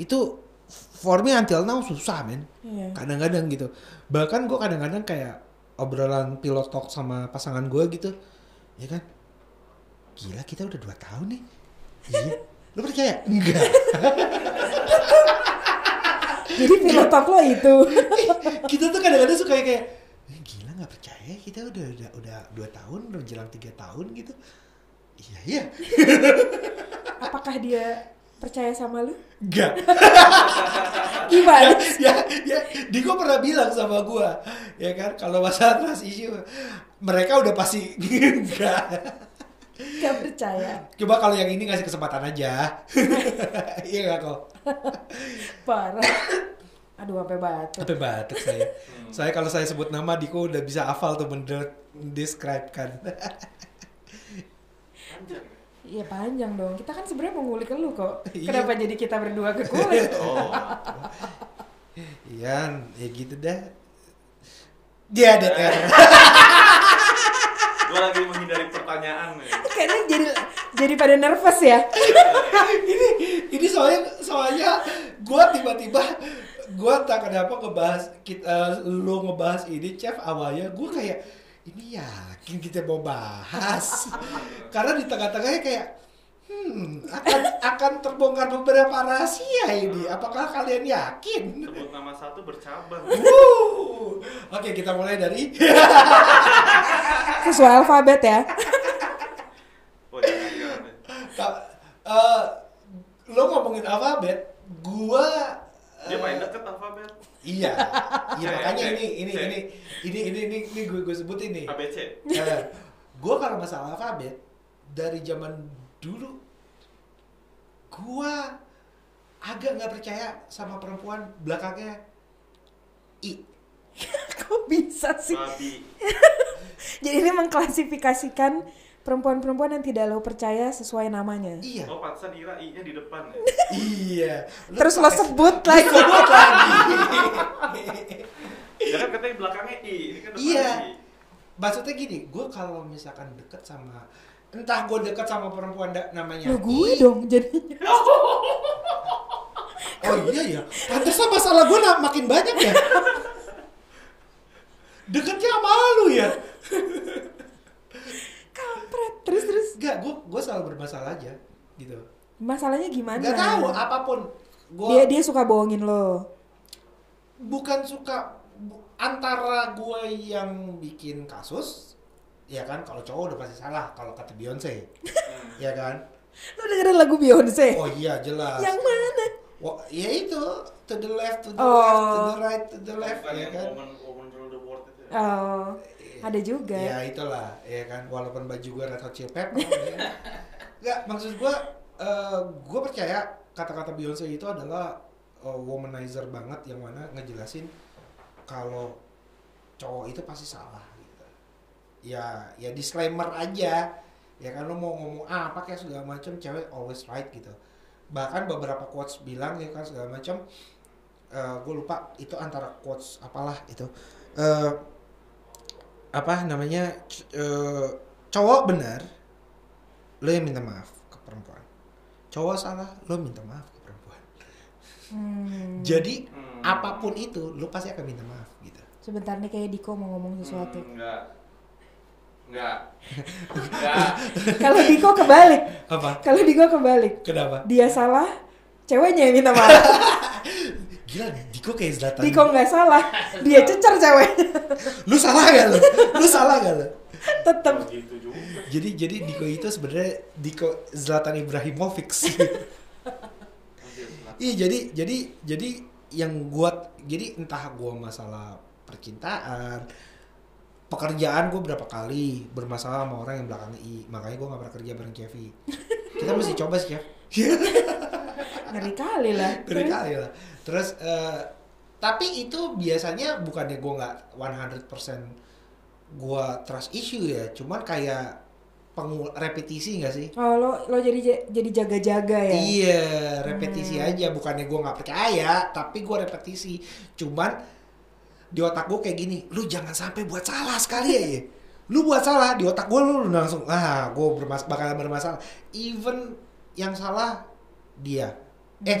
Speaker 2: itu for me until now susah men.
Speaker 1: Iya.
Speaker 2: kadang-kadang gitu bahkan gue kadang-kadang kayak obrolan pilot talk sama pasangan gue gitu ya kan gila kita udah dua tahun nih iya lu percaya enggak
Speaker 1: Jadi pilotok lo itu.
Speaker 2: kita tuh kadang-kadang suka kayak kayak, "Eh, gila nggak percaya kita udah udah udah dua tahun udah menjelang tiga tahun gitu iya iya
Speaker 1: Apakah dia percaya sama lu?
Speaker 2: enggak
Speaker 1: Gimana?
Speaker 2: ya, ya, Diko pernah bilang sama gua, ya kan, kalau masalah trust issue, mereka udah pasti enggak.
Speaker 1: Gak percaya.
Speaker 2: Coba kalau yang ini ngasih kesempatan aja. iya nggak kok.
Speaker 1: Parah. Aduh, sampai batuk.
Speaker 2: Tapi batuk saya. Saya kalau saya sebut nama Diko udah bisa hafal tuh kan. mendeskripsikan.
Speaker 3: Panjang.
Speaker 1: Iya panjang dong. Kita kan sebenarnya mau ngulik lu kok.
Speaker 2: Iya.
Speaker 1: Kenapa jadi kita berdua ke kulit?
Speaker 3: oh
Speaker 2: Iya, ya gitu dah. Dia ada ter.
Speaker 3: gua lagi menghindari pertanyaan ya. nih
Speaker 1: Kayaknya jadi jadi pada nervous ya.
Speaker 2: ini ini soalnya soalnya gua tiba-tiba gua tak kenapa ngebahas kita lu ngebahas ini chef awalnya gua kayak ini yakin kita mau bahas karena di tengah-tengahnya kayak hmm akan akan terbongkar beberapa rahasia ini apakah kalian yakin
Speaker 3: sebut nama satu bercabang
Speaker 2: Wuh. oke kita mulai dari
Speaker 1: Sesuai alfabet ya.
Speaker 3: oh jangan jangan
Speaker 2: Ka- eh, lo ngomongin alfabet gua
Speaker 3: dia
Speaker 2: eh,
Speaker 3: main deket alfabet
Speaker 2: Iya, iya
Speaker 3: Oke,
Speaker 2: makanya
Speaker 3: oke.
Speaker 2: ini ini
Speaker 3: Oke.
Speaker 2: ini ini ini ini ini gue gue sebutin nih.
Speaker 3: ABC
Speaker 2: gue Iya, kalau masalah alfabet dari zaman dulu gue agak nggak percaya sama perempuan belakangnya i.
Speaker 1: Kok bisa sih?
Speaker 3: babi
Speaker 1: Jadi ini mengklasifikasikan perempuan-perempuan yang tidak lo percaya sesuai namanya.
Speaker 2: Iya,
Speaker 3: oh pantesan Ira I nya di depan ya
Speaker 2: iya. Lu
Speaker 1: Terus lo
Speaker 2: pakai-
Speaker 1: sebut
Speaker 2: Lu
Speaker 1: lagi.
Speaker 2: sebut lagi.
Speaker 3: ya kan katanya belakangnya I ini kan depan
Speaker 2: Iya.
Speaker 3: I
Speaker 2: Maksudnya gini, gue kalau misalkan deket sama entah gue deket sama perempuan da- namanya
Speaker 1: Lo gue
Speaker 2: I,
Speaker 1: dong jadinya.
Speaker 2: Oh iya ya, pantesan masalah gue makin banyak ya. Deketnya sama lu ya.
Speaker 1: Kampret. Terus terus
Speaker 2: Enggak, gue gue selalu bermasalah aja gitu.
Speaker 1: masalahnya gimana?
Speaker 2: Enggak tahu apapun. Gua
Speaker 1: Dia dia suka bohongin lo.
Speaker 2: bukan suka bu- antara gue yang bikin kasus, ya kan kalau cowok udah pasti salah kalau kata Beyonce,
Speaker 3: Hmm.
Speaker 2: ya kan?
Speaker 1: Lo dengerin lagu Beyonce?
Speaker 2: Oh iya jelas.
Speaker 1: Eh, Yang mana?
Speaker 2: Wah, ya itu to the left, to the
Speaker 1: Oh.
Speaker 2: left, to the right, to the left,
Speaker 3: Bukan
Speaker 2: ya
Speaker 3: yang
Speaker 2: kan? Ah,
Speaker 3: woman woman rule the world itu ya.
Speaker 2: Iya.
Speaker 1: Oh, ada juga.
Speaker 2: Ya itulah, ya kan. Walaupun baju gue Red Hot Chili Peppers, ya. Nggak, maksud gue, eh gue percaya kata-kata Beyonce itu adalah eh, womanizer banget yang mana ngejelasin kalau cowok itu pasti salah gitu. Ya, ya disclaimer aja. Ya kan lo mau ngomong apa kayak segala macam, cewek always right gitu. Bahkan beberapa quotes bilang ya kan segala macam. gue lupa itu antara quotes apalah itu. Eh apa namanya c- eh, cowok benar lo yang minta maaf ke perempuan cowok salah lo minta maaf ke perempuan
Speaker 1: Hmm.
Speaker 2: jadi
Speaker 3: Hmm.
Speaker 2: apapun itu lo pasti akan minta maaf gitu
Speaker 1: Sebentar nih kayak Diko mau ngomong sesuatu.
Speaker 3: Hmm, enggak. Enggak. enggak.
Speaker 1: Kalau Diko kebalik,
Speaker 2: apa
Speaker 1: kalau Diko kebalik,
Speaker 2: kenapa
Speaker 1: dia salah, ceweknya yang minta maaf.
Speaker 2: gila Diko kayak Zlatan
Speaker 1: Diko nggak salah, dia cecer ceweknya.
Speaker 2: lu salah gak lo lu salah gak lo
Speaker 1: Tetep.
Speaker 3: Oh, gitu juga.
Speaker 2: jadi jadi Diko itu sebenarnya Diko Zlatan Ibrahimovic
Speaker 3: Ambil lah.
Speaker 2: Iya jadi jadi jadi yang gua jadi entah gua masalah percintaan pekerjaan gua berapa kali bermasalah sama orang yang belakang i makanya gua nggak pernah kerja bareng Chevy kita mesti coba sih Chef
Speaker 1: Ngeri kali lah.
Speaker 2: dari kali lah terus eh, tapi itu biasanya bukannya gua nggak 100% gua trust issue ya cuman kayak pengu- repetisi nggak sih
Speaker 1: Oh, lo lo jadi jadi jaga-jaga ya.
Speaker 2: Iya, repetisi
Speaker 1: hmm.
Speaker 2: aja. Bukannya gue nggak percaya, tapi gue repetisi. Cuman di otak gue kayak gini, lu jangan sampai buat salah sekali ya. Ye." lu buat salah di otak gue lu langsung ah gue bermas bakalan bermasalah. Even yang salah dia. Eh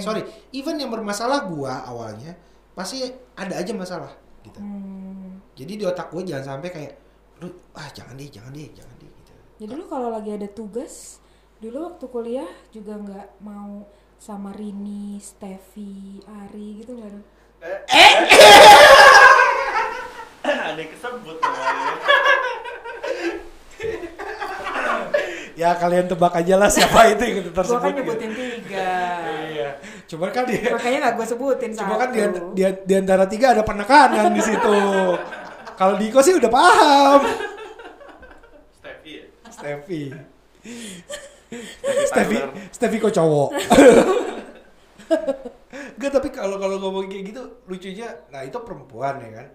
Speaker 1: Hmm.
Speaker 2: sorry, even yang bermasalah gua awalnya pasti ada aja masalah gitu.
Speaker 1: Hmm.
Speaker 2: Jadi di otak gue jangan sampai kayak lu ah jangan deh, jangan deh, jangan deh gitu.
Speaker 1: Jadi lu kalau lagi ada tugas, dulu waktu kuliah juga nggak mau sama Rini, Steffi, Ari gitu nggak? dong?
Speaker 3: Eh. Ada yang kesebut namanya.
Speaker 2: Ya kalian tebak aja lah siapa itu yang tersebut.
Speaker 1: Gua kan
Speaker 2: gitu.
Speaker 1: nyebutin tiga.
Speaker 2: Iya. Cuman kan dia
Speaker 1: Makanya nggak gue sebutin
Speaker 2: Cuma
Speaker 1: satu.
Speaker 2: kan di, di, di antara tiga ada penekanan di situ. Kalau Diko sih udah paham.
Speaker 3: Steffi ya?
Speaker 2: Steffi.
Speaker 3: Steffi
Speaker 2: Steffi,
Speaker 3: Tyler.
Speaker 2: Steffi kok cowok. Gak tapi kalau kalau ngomong kayak gitu lucunya, nah itu perempuan ya kan.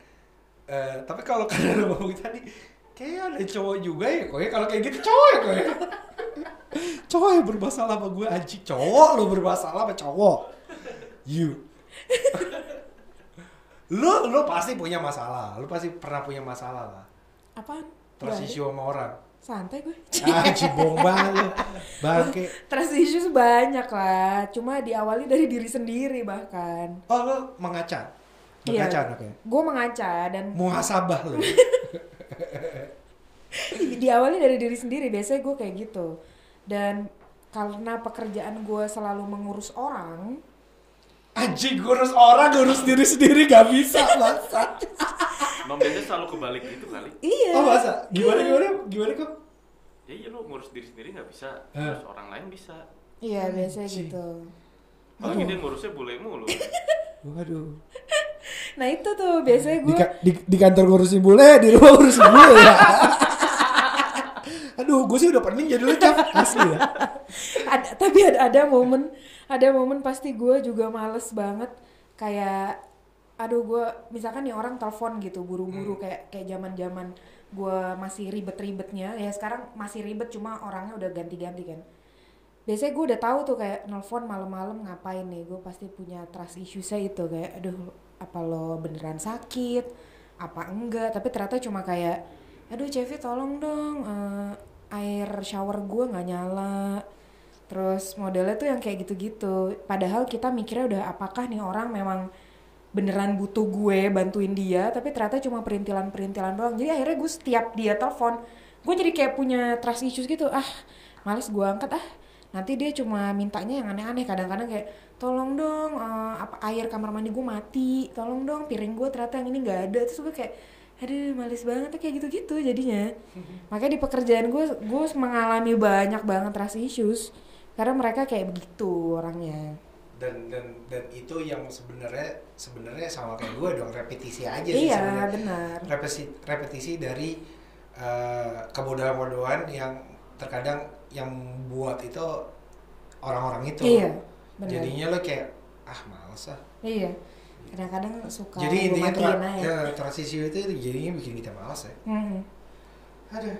Speaker 2: Eh, tapi kalau kalian ngomong tadi, kayaknya ada cowok juga ya kok ya. Kalau kayak gitu cowok ya kok ya. cowok yang bermasalah sama gue anjing cowok lu bermasalah sama cowok. You. lu lu pasti punya masalah, lu pasti pernah punya masalah lah.
Speaker 1: Apaan?
Speaker 2: Terus
Speaker 1: Nggak ada.
Speaker 2: isu sama orang.
Speaker 1: Santai gue.
Speaker 2: Ah, cibong banget. Bangke.
Speaker 1: Trust issues banyak lah. Cuma diawali dari diri sendiri bahkan.
Speaker 2: Oh lo mengaca?
Speaker 1: Iya.
Speaker 2: Mengaca ya? anaknya?
Speaker 1: Gue mengaca dan
Speaker 2: Muhasabah lo?
Speaker 1: Di- diawali dari diri sendiri biasanya gue kayak gitu dan karena pekerjaan gue selalu mengurus orang
Speaker 2: Anjing ngurus orang, ngurus diri sendiri gak bisa masa
Speaker 3: Emang biasanya selalu kebalik gitu kali.
Speaker 1: iya
Speaker 2: Oh masa? Gimana gimana? Gimana kok?
Speaker 3: Ya iya lu ngurus diri sendiri nggak bisa,
Speaker 2: Hah.
Speaker 3: ngurus orang lain bisa.
Speaker 1: iya biasanya
Speaker 2: Anjing.
Speaker 1: gitu
Speaker 3: Apalagi dia ngurusnya bule mulu.
Speaker 2: Waduh
Speaker 1: nah itu tuh biasanya
Speaker 2: di,
Speaker 1: gue
Speaker 2: ka- di, di kantor ngurusin bule, di rumah ngurusin bule ya Aduh gue sih udah pening jadi lu cap Asli ya
Speaker 1: ada, tapi ada, ada momen ada momen pasti gue juga males banget kayak aduh gue misalkan nih orang telepon gitu buru-buru kayak kayak zaman zaman gue masih ribet-ribetnya ya sekarang masih ribet cuma orangnya udah ganti-ganti kan biasanya gue udah tahu tuh kayak nelfon malam-malam ngapain nih gue pasti punya trust issue saya itu kayak aduh apa lo beneran sakit apa enggak tapi ternyata cuma kayak aduh Cevi tolong dong eh, air shower gue nggak nyala terus modelnya tuh yang kayak gitu-gitu padahal kita mikirnya udah apakah nih orang memang beneran butuh gue bantuin dia tapi ternyata cuma perintilan-perintilan doang jadi akhirnya gue setiap dia telepon gue jadi kayak punya trust issues gitu ah males gue angkat ah nanti dia cuma mintanya yang aneh-aneh kadang-kadang kayak tolong dong eh, apa air kamar mandi gue mati tolong dong piring gue ternyata yang ini nggak ada terus gue kayak aduh males banget tuh kayak gitu-gitu jadinya makanya di pekerjaan gue gue mengalami banyak banget trust issues karena mereka kayak begitu orangnya
Speaker 2: dan dan dan itu yang sebenarnya sebenarnya sama kayak gue dong repetisi aja sih
Speaker 1: iya
Speaker 2: sebenarnya.
Speaker 1: benar
Speaker 2: repetisi repetisi dari eh, kebodohan-kebodohan yang terkadang yang buat itu orang-orang itu
Speaker 1: Iya, benar.
Speaker 2: jadinya lo kayak ah males ah
Speaker 1: Iya. Kadang-kadang suka
Speaker 2: jadi intinya tra-
Speaker 1: dimatiin aja.
Speaker 2: ya, transisi itu jadinya bikin kita malas ya
Speaker 1: Mm-mm.
Speaker 2: ada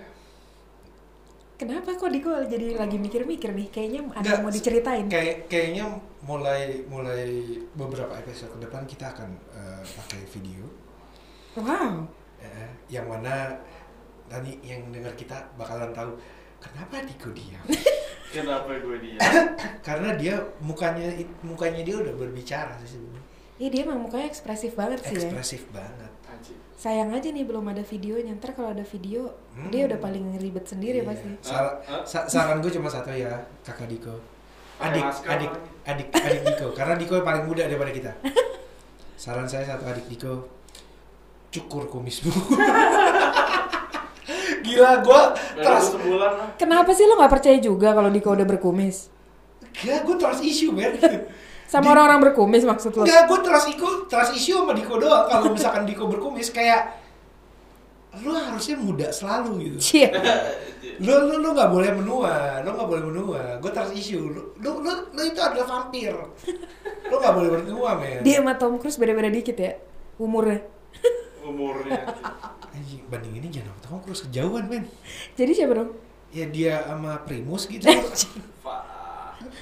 Speaker 1: Kenapa kok Diko jadi lagi mikir-mikir nih? Kayaknya ada
Speaker 2: Nggak,
Speaker 1: yang mau diceritain.
Speaker 2: kayak kayaknya mulai mulai beberapa episode ke depan kita akan eh, pakai video
Speaker 1: Wow.
Speaker 2: eh, yang mana nanti yang dengar kita bakalan tahu kenapa Diko diam
Speaker 3: Kenapa gue dia?
Speaker 2: karena dia mukanya mukanya dia udah berbicara sih sebenarnya
Speaker 1: Iya dia emang mukanya ekspresif banget sih ya.
Speaker 2: ekspresif banget
Speaker 3: Anjing.
Speaker 1: Sayang aja nih belum ada videonya. Ntar kalau ada video,
Speaker 2: Hmm.
Speaker 1: dia udah paling ribet sendiri
Speaker 2: Iya.
Speaker 1: pasti.
Speaker 2: Sar-
Speaker 3: Hah?
Speaker 2: sa- saran gue cuma satu ya, kakak Diko.
Speaker 3: Pakai
Speaker 2: Adik,
Speaker 3: masker
Speaker 2: adik,
Speaker 3: lagi.
Speaker 2: adik, adik Diko. Karena Diko yang paling muda daripada kita. Saran saya satu adik Diko, cukur kumismu. Gila, gue
Speaker 3: Baru
Speaker 2: trust,
Speaker 3: sebulan lah.
Speaker 1: Kenapa sih lo nggak percaya juga kalau Diko udah berkumis?
Speaker 2: gila gue trust issue man.
Speaker 1: Sama orang-orang berkumis maksud lo?
Speaker 2: Enggak, gue trust Iko, trust issue sama Diko doang. Kalau misalkan Diko berkumis kayak lu harusnya muda selalu gitu.
Speaker 1: Cie.
Speaker 2: lu lu lu nggak boleh menua lu nggak boleh menua gue trust issue lu lu lu, lu itu adalah vampir lu nggak boleh menua men
Speaker 1: Dia sama Tom Cruise beda-beda dikit ya umurnya.
Speaker 3: Umurnya.
Speaker 2: Anjing, banding ini jangan sama Tom Cruise kejauhan men
Speaker 1: Jadi siapa dong?
Speaker 2: ya dia sama Primus gitu
Speaker 3: Pak.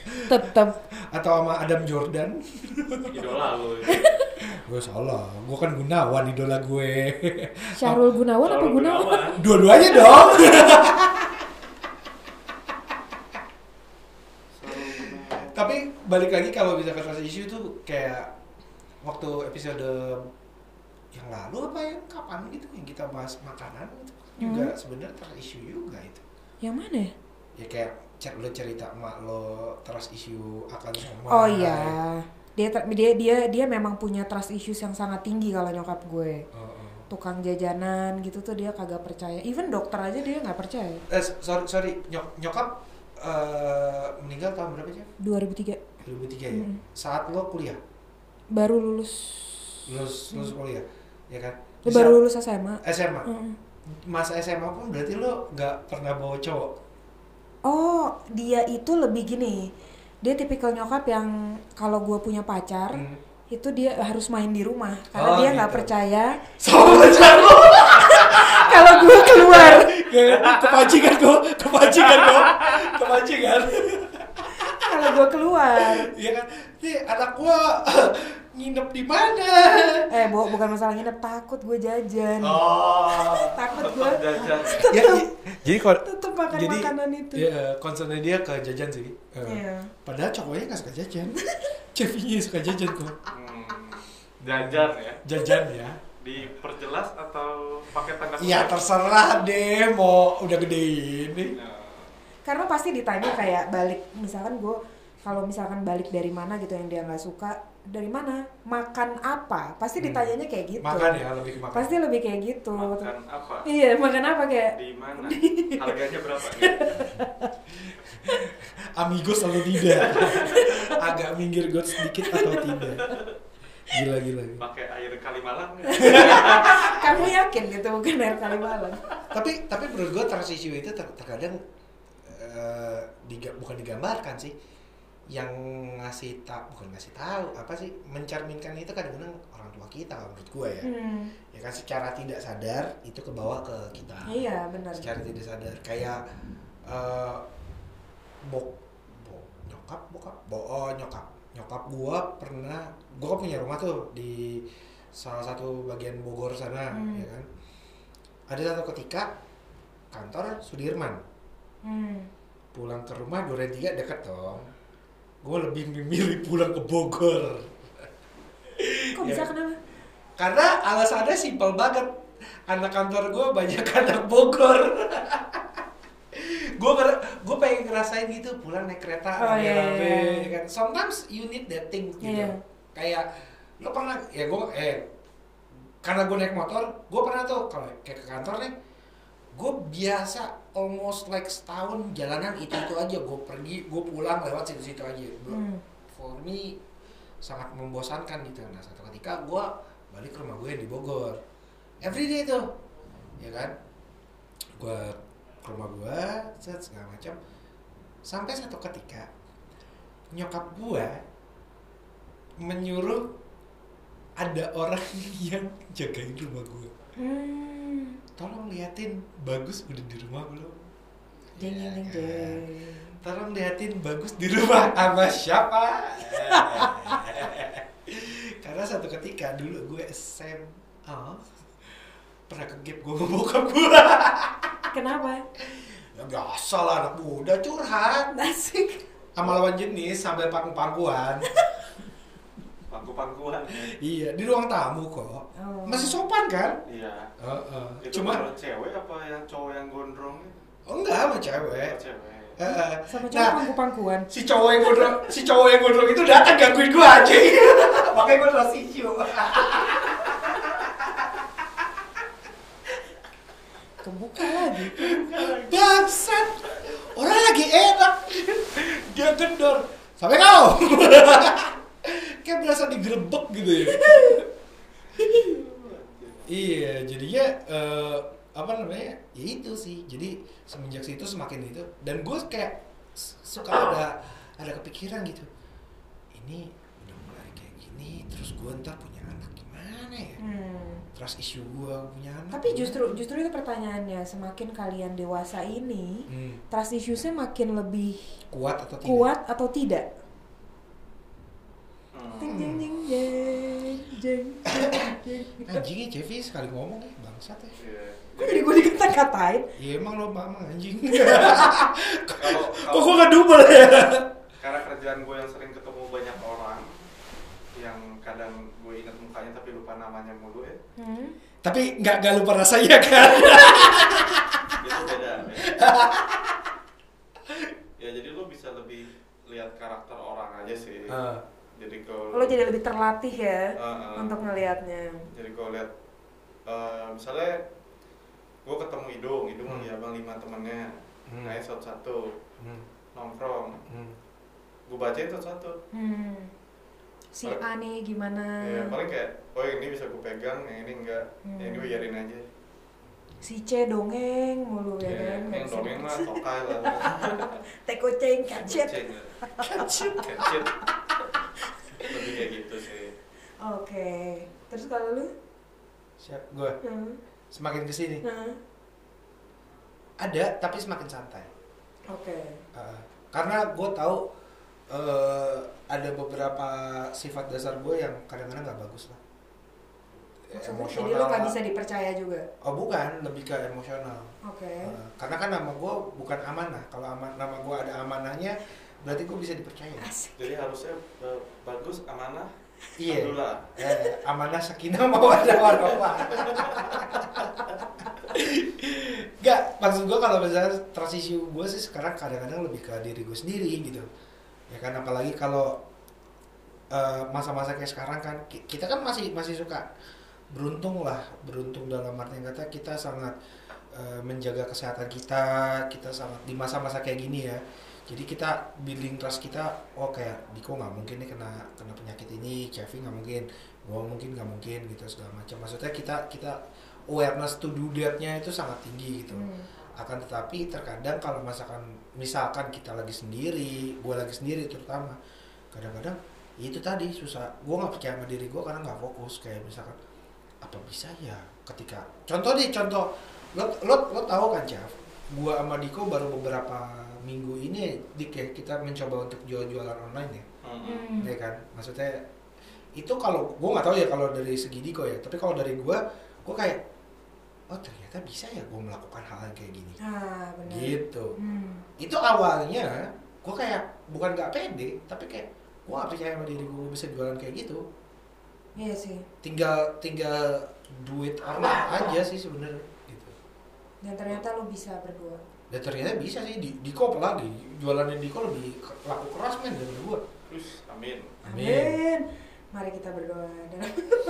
Speaker 1: Tetap.
Speaker 2: atau sama Adam Jordan
Speaker 3: Idola lu.
Speaker 2: gue salah gue kan Gunawan idola gue
Speaker 1: Syahrul Gunawan apa
Speaker 3: Kalau
Speaker 1: Gunawan?
Speaker 2: dua-duanya dong
Speaker 3: Selalu Gunawan.
Speaker 2: tapi balik lagi kalau bisa ke trust issue tuh kayak waktu episode yang lalu apa yang kapan gitu yang kita bahas makanan gitu juga sebenarnya trust issue juga itu
Speaker 1: Yang mana ya?
Speaker 2: ya kayak cer lo cerita emak lo trust issue akan semua
Speaker 1: Oh iya. Dia ter- dia dia dia memang punya trust issues yang sangat tinggi kalau nyokap gue.
Speaker 2: Oh, oh.
Speaker 1: Tukang jajanan gitu tuh dia kagak percaya. Even dokter aja dia nggak percaya.
Speaker 2: eh sorry sorry nyok- nyokap eh, meninggal tahun berapa sih
Speaker 1: 2003
Speaker 2: 2003 ya
Speaker 1: Hmm.
Speaker 2: saat lo kuliah
Speaker 1: baru lulus.
Speaker 2: lulus lulus kuliah ya kan
Speaker 1: Hmm. Lu
Speaker 2: Bisa-
Speaker 1: baru lulus SMA.
Speaker 2: SMA
Speaker 1: Mm-mm.
Speaker 2: masa SMA pun berarti lo nggak pernah bawa cowok
Speaker 1: Oh, dia itu lebih gini. Dia tipikal nyokap yang kalau gue punya pacar,
Speaker 2: Hmm.
Speaker 1: itu dia harus main di rumah karena
Speaker 2: Oh,
Speaker 1: dia nggak
Speaker 2: gitu.
Speaker 1: percaya
Speaker 2: sama pacar lo
Speaker 1: kalau gue keluar. Ya,
Speaker 2: kepacingan kok kepacingan kok kepacingan
Speaker 1: kalau gue keluar.
Speaker 2: ya kan nih anak gua nginep di mana
Speaker 1: Eh, bu- bukan masalah nginep, takut gue jajan.
Speaker 2: oh
Speaker 1: Takut gue
Speaker 3: Tetap jajan.
Speaker 2: ya, i- jadi kalau
Speaker 1: tetep makan
Speaker 2: jadi
Speaker 1: makanan itu.
Speaker 2: ya, concernnya dia ke jajan sih Eh,
Speaker 1: Iya.
Speaker 2: padahal cowoknya nggak suka jajan cevinya suka jajan kok
Speaker 3: Hmm. Jajan ya.
Speaker 2: jajan ya
Speaker 3: Diperjelas atau pakai tanda
Speaker 2: iya
Speaker 3: kutip?
Speaker 2: terserah deh mau udah gede ini
Speaker 3: Nah.
Speaker 1: Karena pasti ditanya kayak balik, misalkan gue kalau misalkan balik dari mana gitu yang dia nggak suka, dari mana, makan apa, pasti
Speaker 2: Hmm.
Speaker 1: ditanyanya kayak gitu.
Speaker 2: makan ya lebih ke makan
Speaker 1: Pasti lebih kayak gitu.
Speaker 3: makan apa
Speaker 1: Iya, makan apa kayak?
Speaker 3: di mana harganya berapa nih?
Speaker 2: amigos atau tidak agak minggir got sedikit atau tidak gila gila
Speaker 3: pakai air Kalimalang nggak?
Speaker 1: Kamu yakin gitu bukan air kali malam?
Speaker 2: tapi tapi menurut gue transisi itu ter- terkadang eh, diga- bukan digambarkan sih yang ngasih tak bukan ngasih tahu apa sih mencerminkan itu kadang-kadang orang tua kita kalau menurut gue ya
Speaker 1: Hmm,
Speaker 2: ya kan secara tidak sadar itu ke bawah ke kita
Speaker 1: iya benar.
Speaker 2: secara tidak sadar kayak eh, bok bok nyokap bokap bo oh, nyokap nyokap gua pernah gua kan punya rumah tuh di salah satu bagian Bogor sana
Speaker 1: Hmm.
Speaker 2: ya kan ada satu ketika kantor Sudirman
Speaker 1: Hmm.
Speaker 2: pulang ke rumah duren tiga deket dong gua lebih memilih pulang ke Bogor
Speaker 1: Kok
Speaker 2: Iya.
Speaker 1: bisa kenapa?
Speaker 2: karena alasannya simpel banget anak kantor gue banyak anak Bogor gue gue pengen ngerasain gitu pulang naik kereta
Speaker 1: Oh, iya,
Speaker 2: rame-rame,
Speaker 1: iya, iya.
Speaker 2: ya kan sometimes you need that thing gitu
Speaker 1: Iya.
Speaker 2: kayak lo pernah ya gue eh karena gue naik motor gue pernah tuh kalau kayak ke kantor nih gue biasa almost like setahun jalanan itu itu aja gue pergi gue pulang lewat situ situ aja Bro,
Speaker 1: Hmm.
Speaker 2: for me sangat membosankan gitu nah satu ketika gue balik ke rumah gue yang di Bogor everyday tuh ya kan gue ke rumah gue set segala macam sampai satu ketika nyokap gua menyuruh ada orang yang jagain rumah gua
Speaker 1: Hmm.
Speaker 2: tolong liatin bagus udah di rumah belum
Speaker 1: Ding
Speaker 2: Ya
Speaker 1: ding ding
Speaker 2: kan?
Speaker 1: ding.
Speaker 2: tolong liatin bagus di rumah sama siapa karena satu ketika dulu gue SMA pernah ke gap gue sama bokap gue
Speaker 1: Ah, Kenapa?
Speaker 2: ya biasa lah anak muda curhat
Speaker 1: Asik.
Speaker 2: sama lawan jenis sambil pangku-pangkuan
Speaker 3: pangku-pangkuan
Speaker 2: iya di ruang tamu kok
Speaker 1: Oh.
Speaker 2: masih sopan kan
Speaker 3: iya
Speaker 2: Heeh.
Speaker 3: itu
Speaker 2: cuma
Speaker 3: kalau cewek apa yang cowok yang gondrong
Speaker 2: oh, enggak sama
Speaker 3: eh.
Speaker 2: cewek
Speaker 3: cewek
Speaker 2: Heeh.
Speaker 1: Sama cowok
Speaker 2: nah
Speaker 1: pangku-pangkuan.
Speaker 2: si cowok yang gondrong si cowok yang gondrong itu datang gangguin gue aja makanya gue rasa hijau
Speaker 1: Kebuka lagi.
Speaker 2: Bangsat. Orang lagi enak. Dia gendor. Sampai kau. Kayak berasa digerebek gitu ya. iya, jadinya eh, apa namanya? Ya itu sih. Jadi semenjak situ semakin itu dan gue kayak s- suka ada ada kepikiran gitu. Ini udah mulai kayak gini, terus gue ntar punya anak gimana ya?
Speaker 1: Hmm.
Speaker 2: Trust issue gue punya anak.
Speaker 1: Tapi
Speaker 2: gimana?
Speaker 1: justru justru itu pertanyaannya, semakin kalian dewasa ini,
Speaker 2: Hmm,
Speaker 1: trust issues-nya makin lebih
Speaker 2: kuat atau tidak?
Speaker 1: kuat atau tidak?
Speaker 3: Hmm.
Speaker 1: Jeng jeng jeng jeng jeng jeng, jeng.
Speaker 2: Anjingnya Cevi sekali ngomong ya, bangsat ya.
Speaker 3: Iya.
Speaker 1: Kok jadi gue dikata-katain?
Speaker 2: Ya emang lo mama anjing. Kok
Speaker 3: Kalau- kalau-
Speaker 2: gua gak double ya?
Speaker 3: karena kerjaan gue yang sering ketemu banyak orang yang kadang gue ingat mukanya tapi lupa namanya mulu ya
Speaker 1: Hmm?
Speaker 2: Tapi nggak nggak lupa rasanya kan?
Speaker 3: itu beda ya. ya jadi lo bisa lebih lihat karakter orang aja sih
Speaker 2: Ah. Eh,
Speaker 3: jadi kalau
Speaker 1: Lo jadi lebih terlatih ya
Speaker 3: Ah, ah.
Speaker 1: untuk ngelihatnya.
Speaker 3: jadi kalau lihat eh, misalnya gue ketemu Idung, Idung
Speaker 2: Hmm.
Speaker 3: lagi abang lima temennya
Speaker 2: Hmm.
Speaker 3: naik satu-satu nongkrong gue bacain satu-satu
Speaker 1: Hmm. Si
Speaker 3: Paling-
Speaker 1: A nih gimana?
Speaker 3: ya paling kayak oh yang ini bisa gue pegang yang ini enggak yang ini
Speaker 1: Hmm.
Speaker 3: biarin aja
Speaker 1: Si C dongeng mulu ya
Speaker 3: Ya,
Speaker 1: kan?
Speaker 3: yang dongeng lah tokai lah
Speaker 1: Teko ceng kacet.
Speaker 3: Kucing, ya. Kecil. lebih kayak gitu sih
Speaker 1: Oke. Terus kalau lu?
Speaker 2: Siap, gue
Speaker 1: Hmm.
Speaker 2: semakin kesini
Speaker 1: Nah.
Speaker 2: ada tapi semakin santai.
Speaker 1: Oke.
Speaker 2: Uh, karena gue tahu uh, ada beberapa sifat dasar gue yang kadang-kadang nggak bagus lah. Ya,
Speaker 1: Maksudnya jadi lu nggak bisa dipercaya juga.
Speaker 2: Oh bukan, lebih ke emosional.
Speaker 1: Oke.
Speaker 2: Uh, karena kan nama gue bukan amanah. Kalau ama- nama gue ada amanahnya, berarti gue bisa dipercaya.
Speaker 1: Asik.
Speaker 3: jadi harusnya eh, bagus amanah
Speaker 2: Iya.
Speaker 3: Alhamdulillah.
Speaker 2: Eh, amanah sakinah mawadah warahmah. Gak, maksud gue kalau misalnya transisi gue sih sekarang kadang-kadang lebih ke diri gue sendiri gitu. Ya kan apalagi kalau eh, masa-masa kayak sekarang kan ki- kita kan masih masih suka beruntung lah, beruntung dalam artian kata kita sangat eh, menjaga kesehatan kita, kita sangat di masa-masa kayak gini ya. Jadi kita building trust kita, oh kayak Diko nggak mungkin nih kena kena penyakit ini, Kevin nggak mungkin, gua mungkin nggak mungkin gitu segala macam. Maksudnya kita kita awareness to do that-nya itu sangat tinggi gitu.
Speaker 1: Hmm.
Speaker 2: Akan tetapi terkadang kalau misalkan misalkan kita lagi sendiri, gua lagi sendiri terutama, kadang-kadang ya itu tadi susah. Gua nggak percaya sama diri gua karena nggak fokus kayak misalkan apa bisa ya ketika contoh nih contoh lo lo lo tahu kan Jeff gua sama Diko baru beberapa minggu ini Dik ya kita mencoba untuk jual-jualan online ya
Speaker 1: Hmm.
Speaker 3: Mm-mm.
Speaker 2: ya kan maksudnya itu kalau gue nggak tahu ya kalau dari segi Diko ya tapi kalau dari gue gue kayak oh ternyata bisa ya gue melakukan hal yang kayak gini
Speaker 1: Ah, benar.
Speaker 2: gitu
Speaker 1: Hmm.
Speaker 2: itu awalnya gue kayak bukan nggak pede tapi kayak gue nggak percaya sama diri gue bisa jualan kayak gitu
Speaker 1: Iya sih.
Speaker 2: tinggal tinggal duit online aja sih sebenarnya gitu
Speaker 1: Dan ternyata lu bisa berdua.
Speaker 2: dan ternyata bisa sih di Diko apalagi jualannya Diko lebih ke- laku keras men dari gue
Speaker 3: Terus, amin
Speaker 2: Amin.
Speaker 1: Mari kita berdoa dan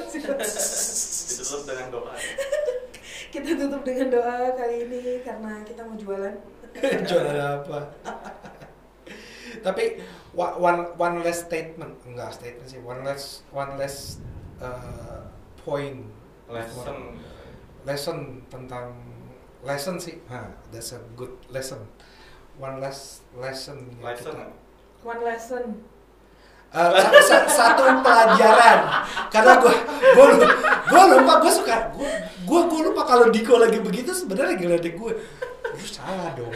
Speaker 3: ditutup dengan doa
Speaker 1: kita tutup dengan doa kali ini karena kita mau jualan.
Speaker 2: jualan apa tapi wa- one one less statement enggak statement sih one less one less uh, point
Speaker 3: lesson
Speaker 2: lesson tentang lesson sih ha that's a good lesson one last lesson ya
Speaker 3: Lesson.
Speaker 2: kita.
Speaker 1: One lesson.
Speaker 2: Eh, sa- sa- satu pelajaran karena gue gue gue lupa gue suka gue gue lupa kalau Diko lagi begitu sebenarnya lagi ada gue lu salah dong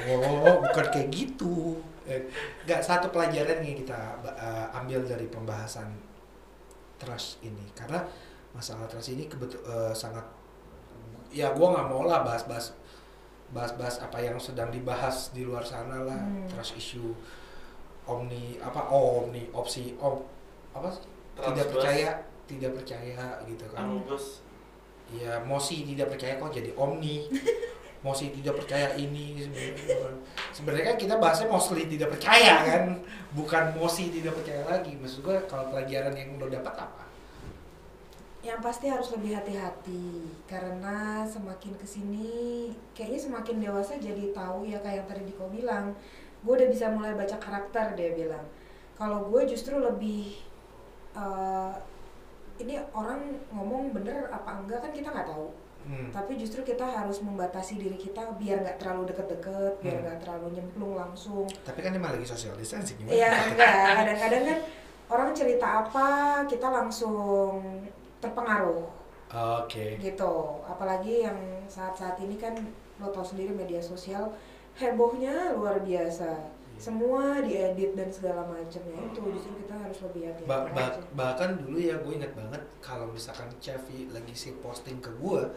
Speaker 2: bukan kayak gitu Eh, nggak satu pelajaran yang kita eh, ambil dari pembahasan trust ini karena masalah trust ini kebetul eh, sangat ya gue nggak mau lah bahas-bahas bahas-bahas apa yang sedang dibahas di luar sana lah
Speaker 1: Hmm.
Speaker 2: trust issue omni apa oh, omni opsi om apa sih? tidak
Speaker 3: Transverse.
Speaker 2: percaya tidak percaya gitu
Speaker 3: Anu,
Speaker 2: kan
Speaker 3: Anubis
Speaker 2: ya mosi tidak percaya kok jadi omni mosi tidak percaya ini sebenarnya. sebenarnya kan kita bahasnya mostly tidak percaya kan bukan mosi tidak percaya lagi maksud gua kalau pelajaran yang lo dapat apa
Speaker 1: yang pasti harus lebih hati-hati karena semakin kesini kayaknya semakin dewasa jadi tahu ya kayak yang tadi Diko bilang gue udah bisa mulai baca karakter dia bilang kalau gue justru lebih eh, ini orang ngomong bener apa enggak kan kita nggak tahu
Speaker 2: hmm.
Speaker 1: tapi justru kita harus membatasi diri kita biar nggak terlalu deket-deket biar
Speaker 2: Hmm.
Speaker 1: nggak terlalu nyemplung langsung
Speaker 2: tapi kan emang lagi social distancing gimana
Speaker 1: Iya enggak, kadang-kadang kan orang cerita apa kita langsung terpengaruh
Speaker 2: oke
Speaker 1: gitu. Apalagi yang saat-saat ini kan lo tau sendiri media sosial hebohnya luar biasa.
Speaker 2: Iya.
Speaker 1: Semua diedit dan segala macamnya itu justru kita harus lebih hati-hati.
Speaker 2: Hmm. Ba- ba-
Speaker 1: aja.
Speaker 2: bahkan dulu ya gue ingat banget kalau misalkan Chevy lagi sih posting ke gue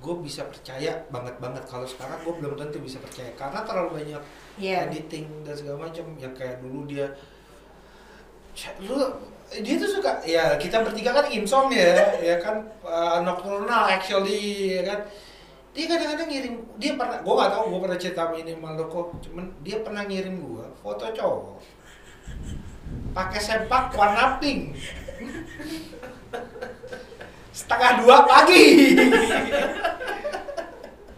Speaker 2: gue bisa percaya banget banget kalau sekarang gue belum tentu bisa percaya karena terlalu banyak
Speaker 1: Iya.
Speaker 2: editing dan segala macam yang kayak dulu dia "Cek, lu dia tuh suka ya kita bertiga kan insomnia ya, ya kan uh, nocturnal actually ya kan dia kadang-kadang ngirim dia pernah gue gak tau gue pernah cerita sama ini sama lo kok cuman dia pernah ngirim gue foto cowok pakai sempak warna pink setengah dua pagi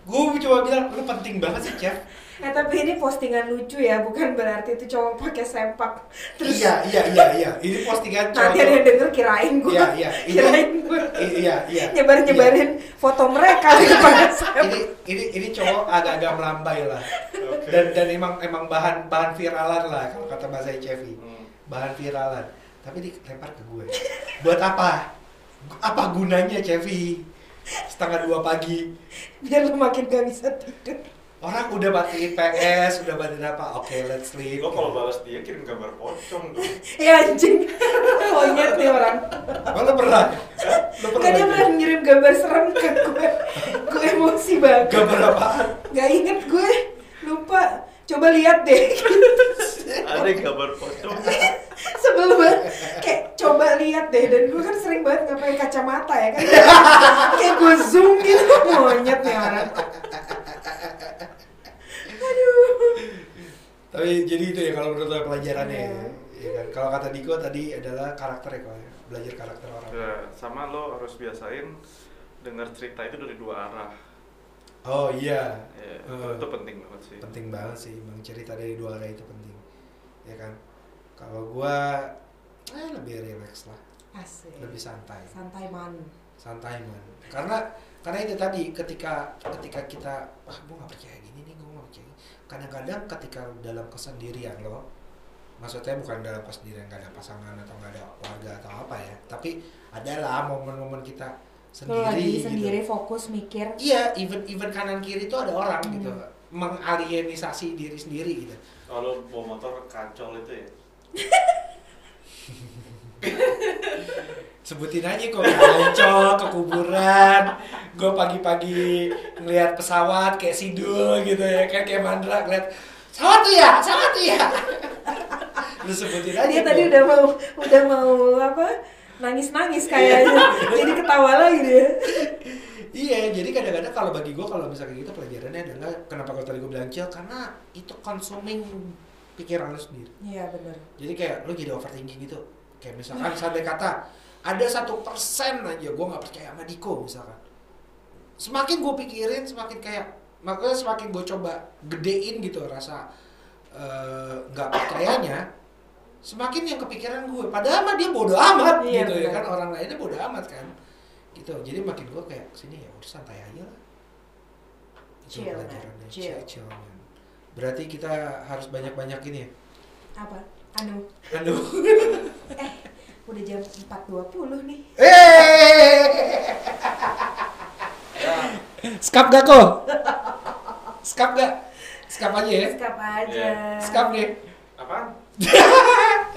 Speaker 2: gue cuma bilang lu penting banget sih Jeff
Speaker 1: Eh tapi ini postingan lucu ya, bukan berarti itu cowok pakai sempak. Terus
Speaker 2: iya iya iya iya ini postingan
Speaker 1: nanti ada yang denger kirain gue,
Speaker 2: Iya, iya. Itu-
Speaker 1: kirain gue
Speaker 2: I- iya iya
Speaker 1: nyebar nyebarin foto mereka di pakai
Speaker 2: Iya.
Speaker 1: sempak.
Speaker 2: ini ini ini cowok agak-agak melambai lah
Speaker 3: Oke.
Speaker 2: dan dan emang emang bahan bahan viralan lah kalau kata bahasa Chevy
Speaker 3: Hmm.
Speaker 2: bahan viralan tapi dilempar ke gue buat apa apa gunanya Chevy setengah dua pagi
Speaker 1: biar lu makin gak bisa tidur
Speaker 2: orang udah matiin PS udah matiin apa oke let's sleep
Speaker 3: Gue kalau balas dia kirim gambar pocong dong.
Speaker 1: ya anjing monyet nih orang
Speaker 2: Emang lo pernah Hah? lo pernah
Speaker 1: Gak dia malah ngirim gambar serem ke gue gue emosi banget
Speaker 2: gambar apaan
Speaker 1: gak inget gue lupa coba lihat deh
Speaker 3: Ada gambar pocong.
Speaker 1: sebel banget kayak coba lihat deh dan gue kan sering banget nggak pakai kacamata ya kan kayak gue zoom gitu monyet nih orang aduh
Speaker 2: Tapi jadi itu ya kalau menurut lo pelajarannya ya.
Speaker 1: Iya.
Speaker 2: ya kan? Kalau kata Diko tadi adalah karakter ya kalau ya. belajar karakter orang.
Speaker 3: Ya, sama lo harus biasain dengar cerita itu dari dua arah.
Speaker 2: Oh iya.
Speaker 3: Ya,
Speaker 2: Eh,
Speaker 3: itu penting banget sih.
Speaker 2: penting banget sih emang cerita dari dua arah itu penting. Ya kan? Kalau gua eh, lebih relax lah,
Speaker 1: asik
Speaker 2: lebih santai.
Speaker 1: santai man
Speaker 2: Santai man. Karena karena itu tadi ketika ketika kita wah gua nggak percaya gini nih, gua nggak percaya. gini." Kadang-kadang ketika dalam kesendirian lo maksudnya bukan dalam pas diri nggak ada pasangan atau nggak ada keluarga atau apa ya tapi adalah momen-momen kita
Speaker 1: lo
Speaker 2: sendiri
Speaker 1: lagi
Speaker 2: gitu.
Speaker 1: sendiri fokus mikir
Speaker 2: iya even even kanan kiri itu ada orang gitu
Speaker 1: Hmm.
Speaker 2: mengalienisasi diri sendiri gitu
Speaker 3: Kalau bawa motor kacol itu ya.
Speaker 2: sebutin aja kok ancol ke kuburan gue pagi-pagi ngelihat pesawat kayak sidul gitu ya kan kayak mandra ngeliat pesawat tuh ya pesawat tuh ya lu sebutin aja
Speaker 1: Dia
Speaker 2: gua.
Speaker 1: tadi udah mau udah mau apa? Nangis-nangis kayaknya. Jadi ketawa lagi dia.
Speaker 2: Iya, jadi kadang-kadang kalau bagi gue kalau misalnya gitu pelajarannya adalah kenapa kalau tadi gue bilang chill karena itu consuming pikiran lu sendiri.
Speaker 1: Iya benar.
Speaker 2: Jadi kayak lu jadi overthinking gitu. Kayak misalkan sampai kata ada satu persen aja gue nggak percaya sama Diko misalkan. Semakin gue pikirin semakin kayak makanya semakin gue coba gedein gitu rasa eh, nggak percayanya semakin yang kepikiran gue padahal mah dia bodoh amat
Speaker 1: Iya,
Speaker 2: gitu ya
Speaker 1: benar.
Speaker 2: kan orang lainnya bodoh amat kan gitu jadi makin gue kayak sini ya udah santai aja lah itu
Speaker 1: Chill,
Speaker 2: pelajarannya
Speaker 1: chill.
Speaker 2: chill, chill man. Berarti kita harus banyak-banyak ini ya.
Speaker 1: Apa? Anu.
Speaker 2: Aduh.
Speaker 1: Eh, udah jam 4.20 nih.
Speaker 2: Eh,
Speaker 3: Ya,
Speaker 2: skap gak kok? Skap gak? Skap aja ya.
Speaker 1: Skap aja.
Speaker 3: Iya.
Speaker 2: Skap deh.
Speaker 3: apa?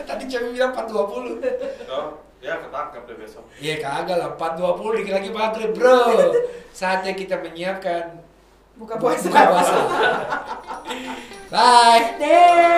Speaker 2: Tadi Cemi bilang 420.
Speaker 3: Oh, ya ketangkap deh besok.
Speaker 2: Iya kagak lah, 420 dikit lagi maghrib bro. Saatnya kita menyiapkan
Speaker 1: Buka puasa.
Speaker 2: Buka puasa. Bye.
Speaker 1: Deh.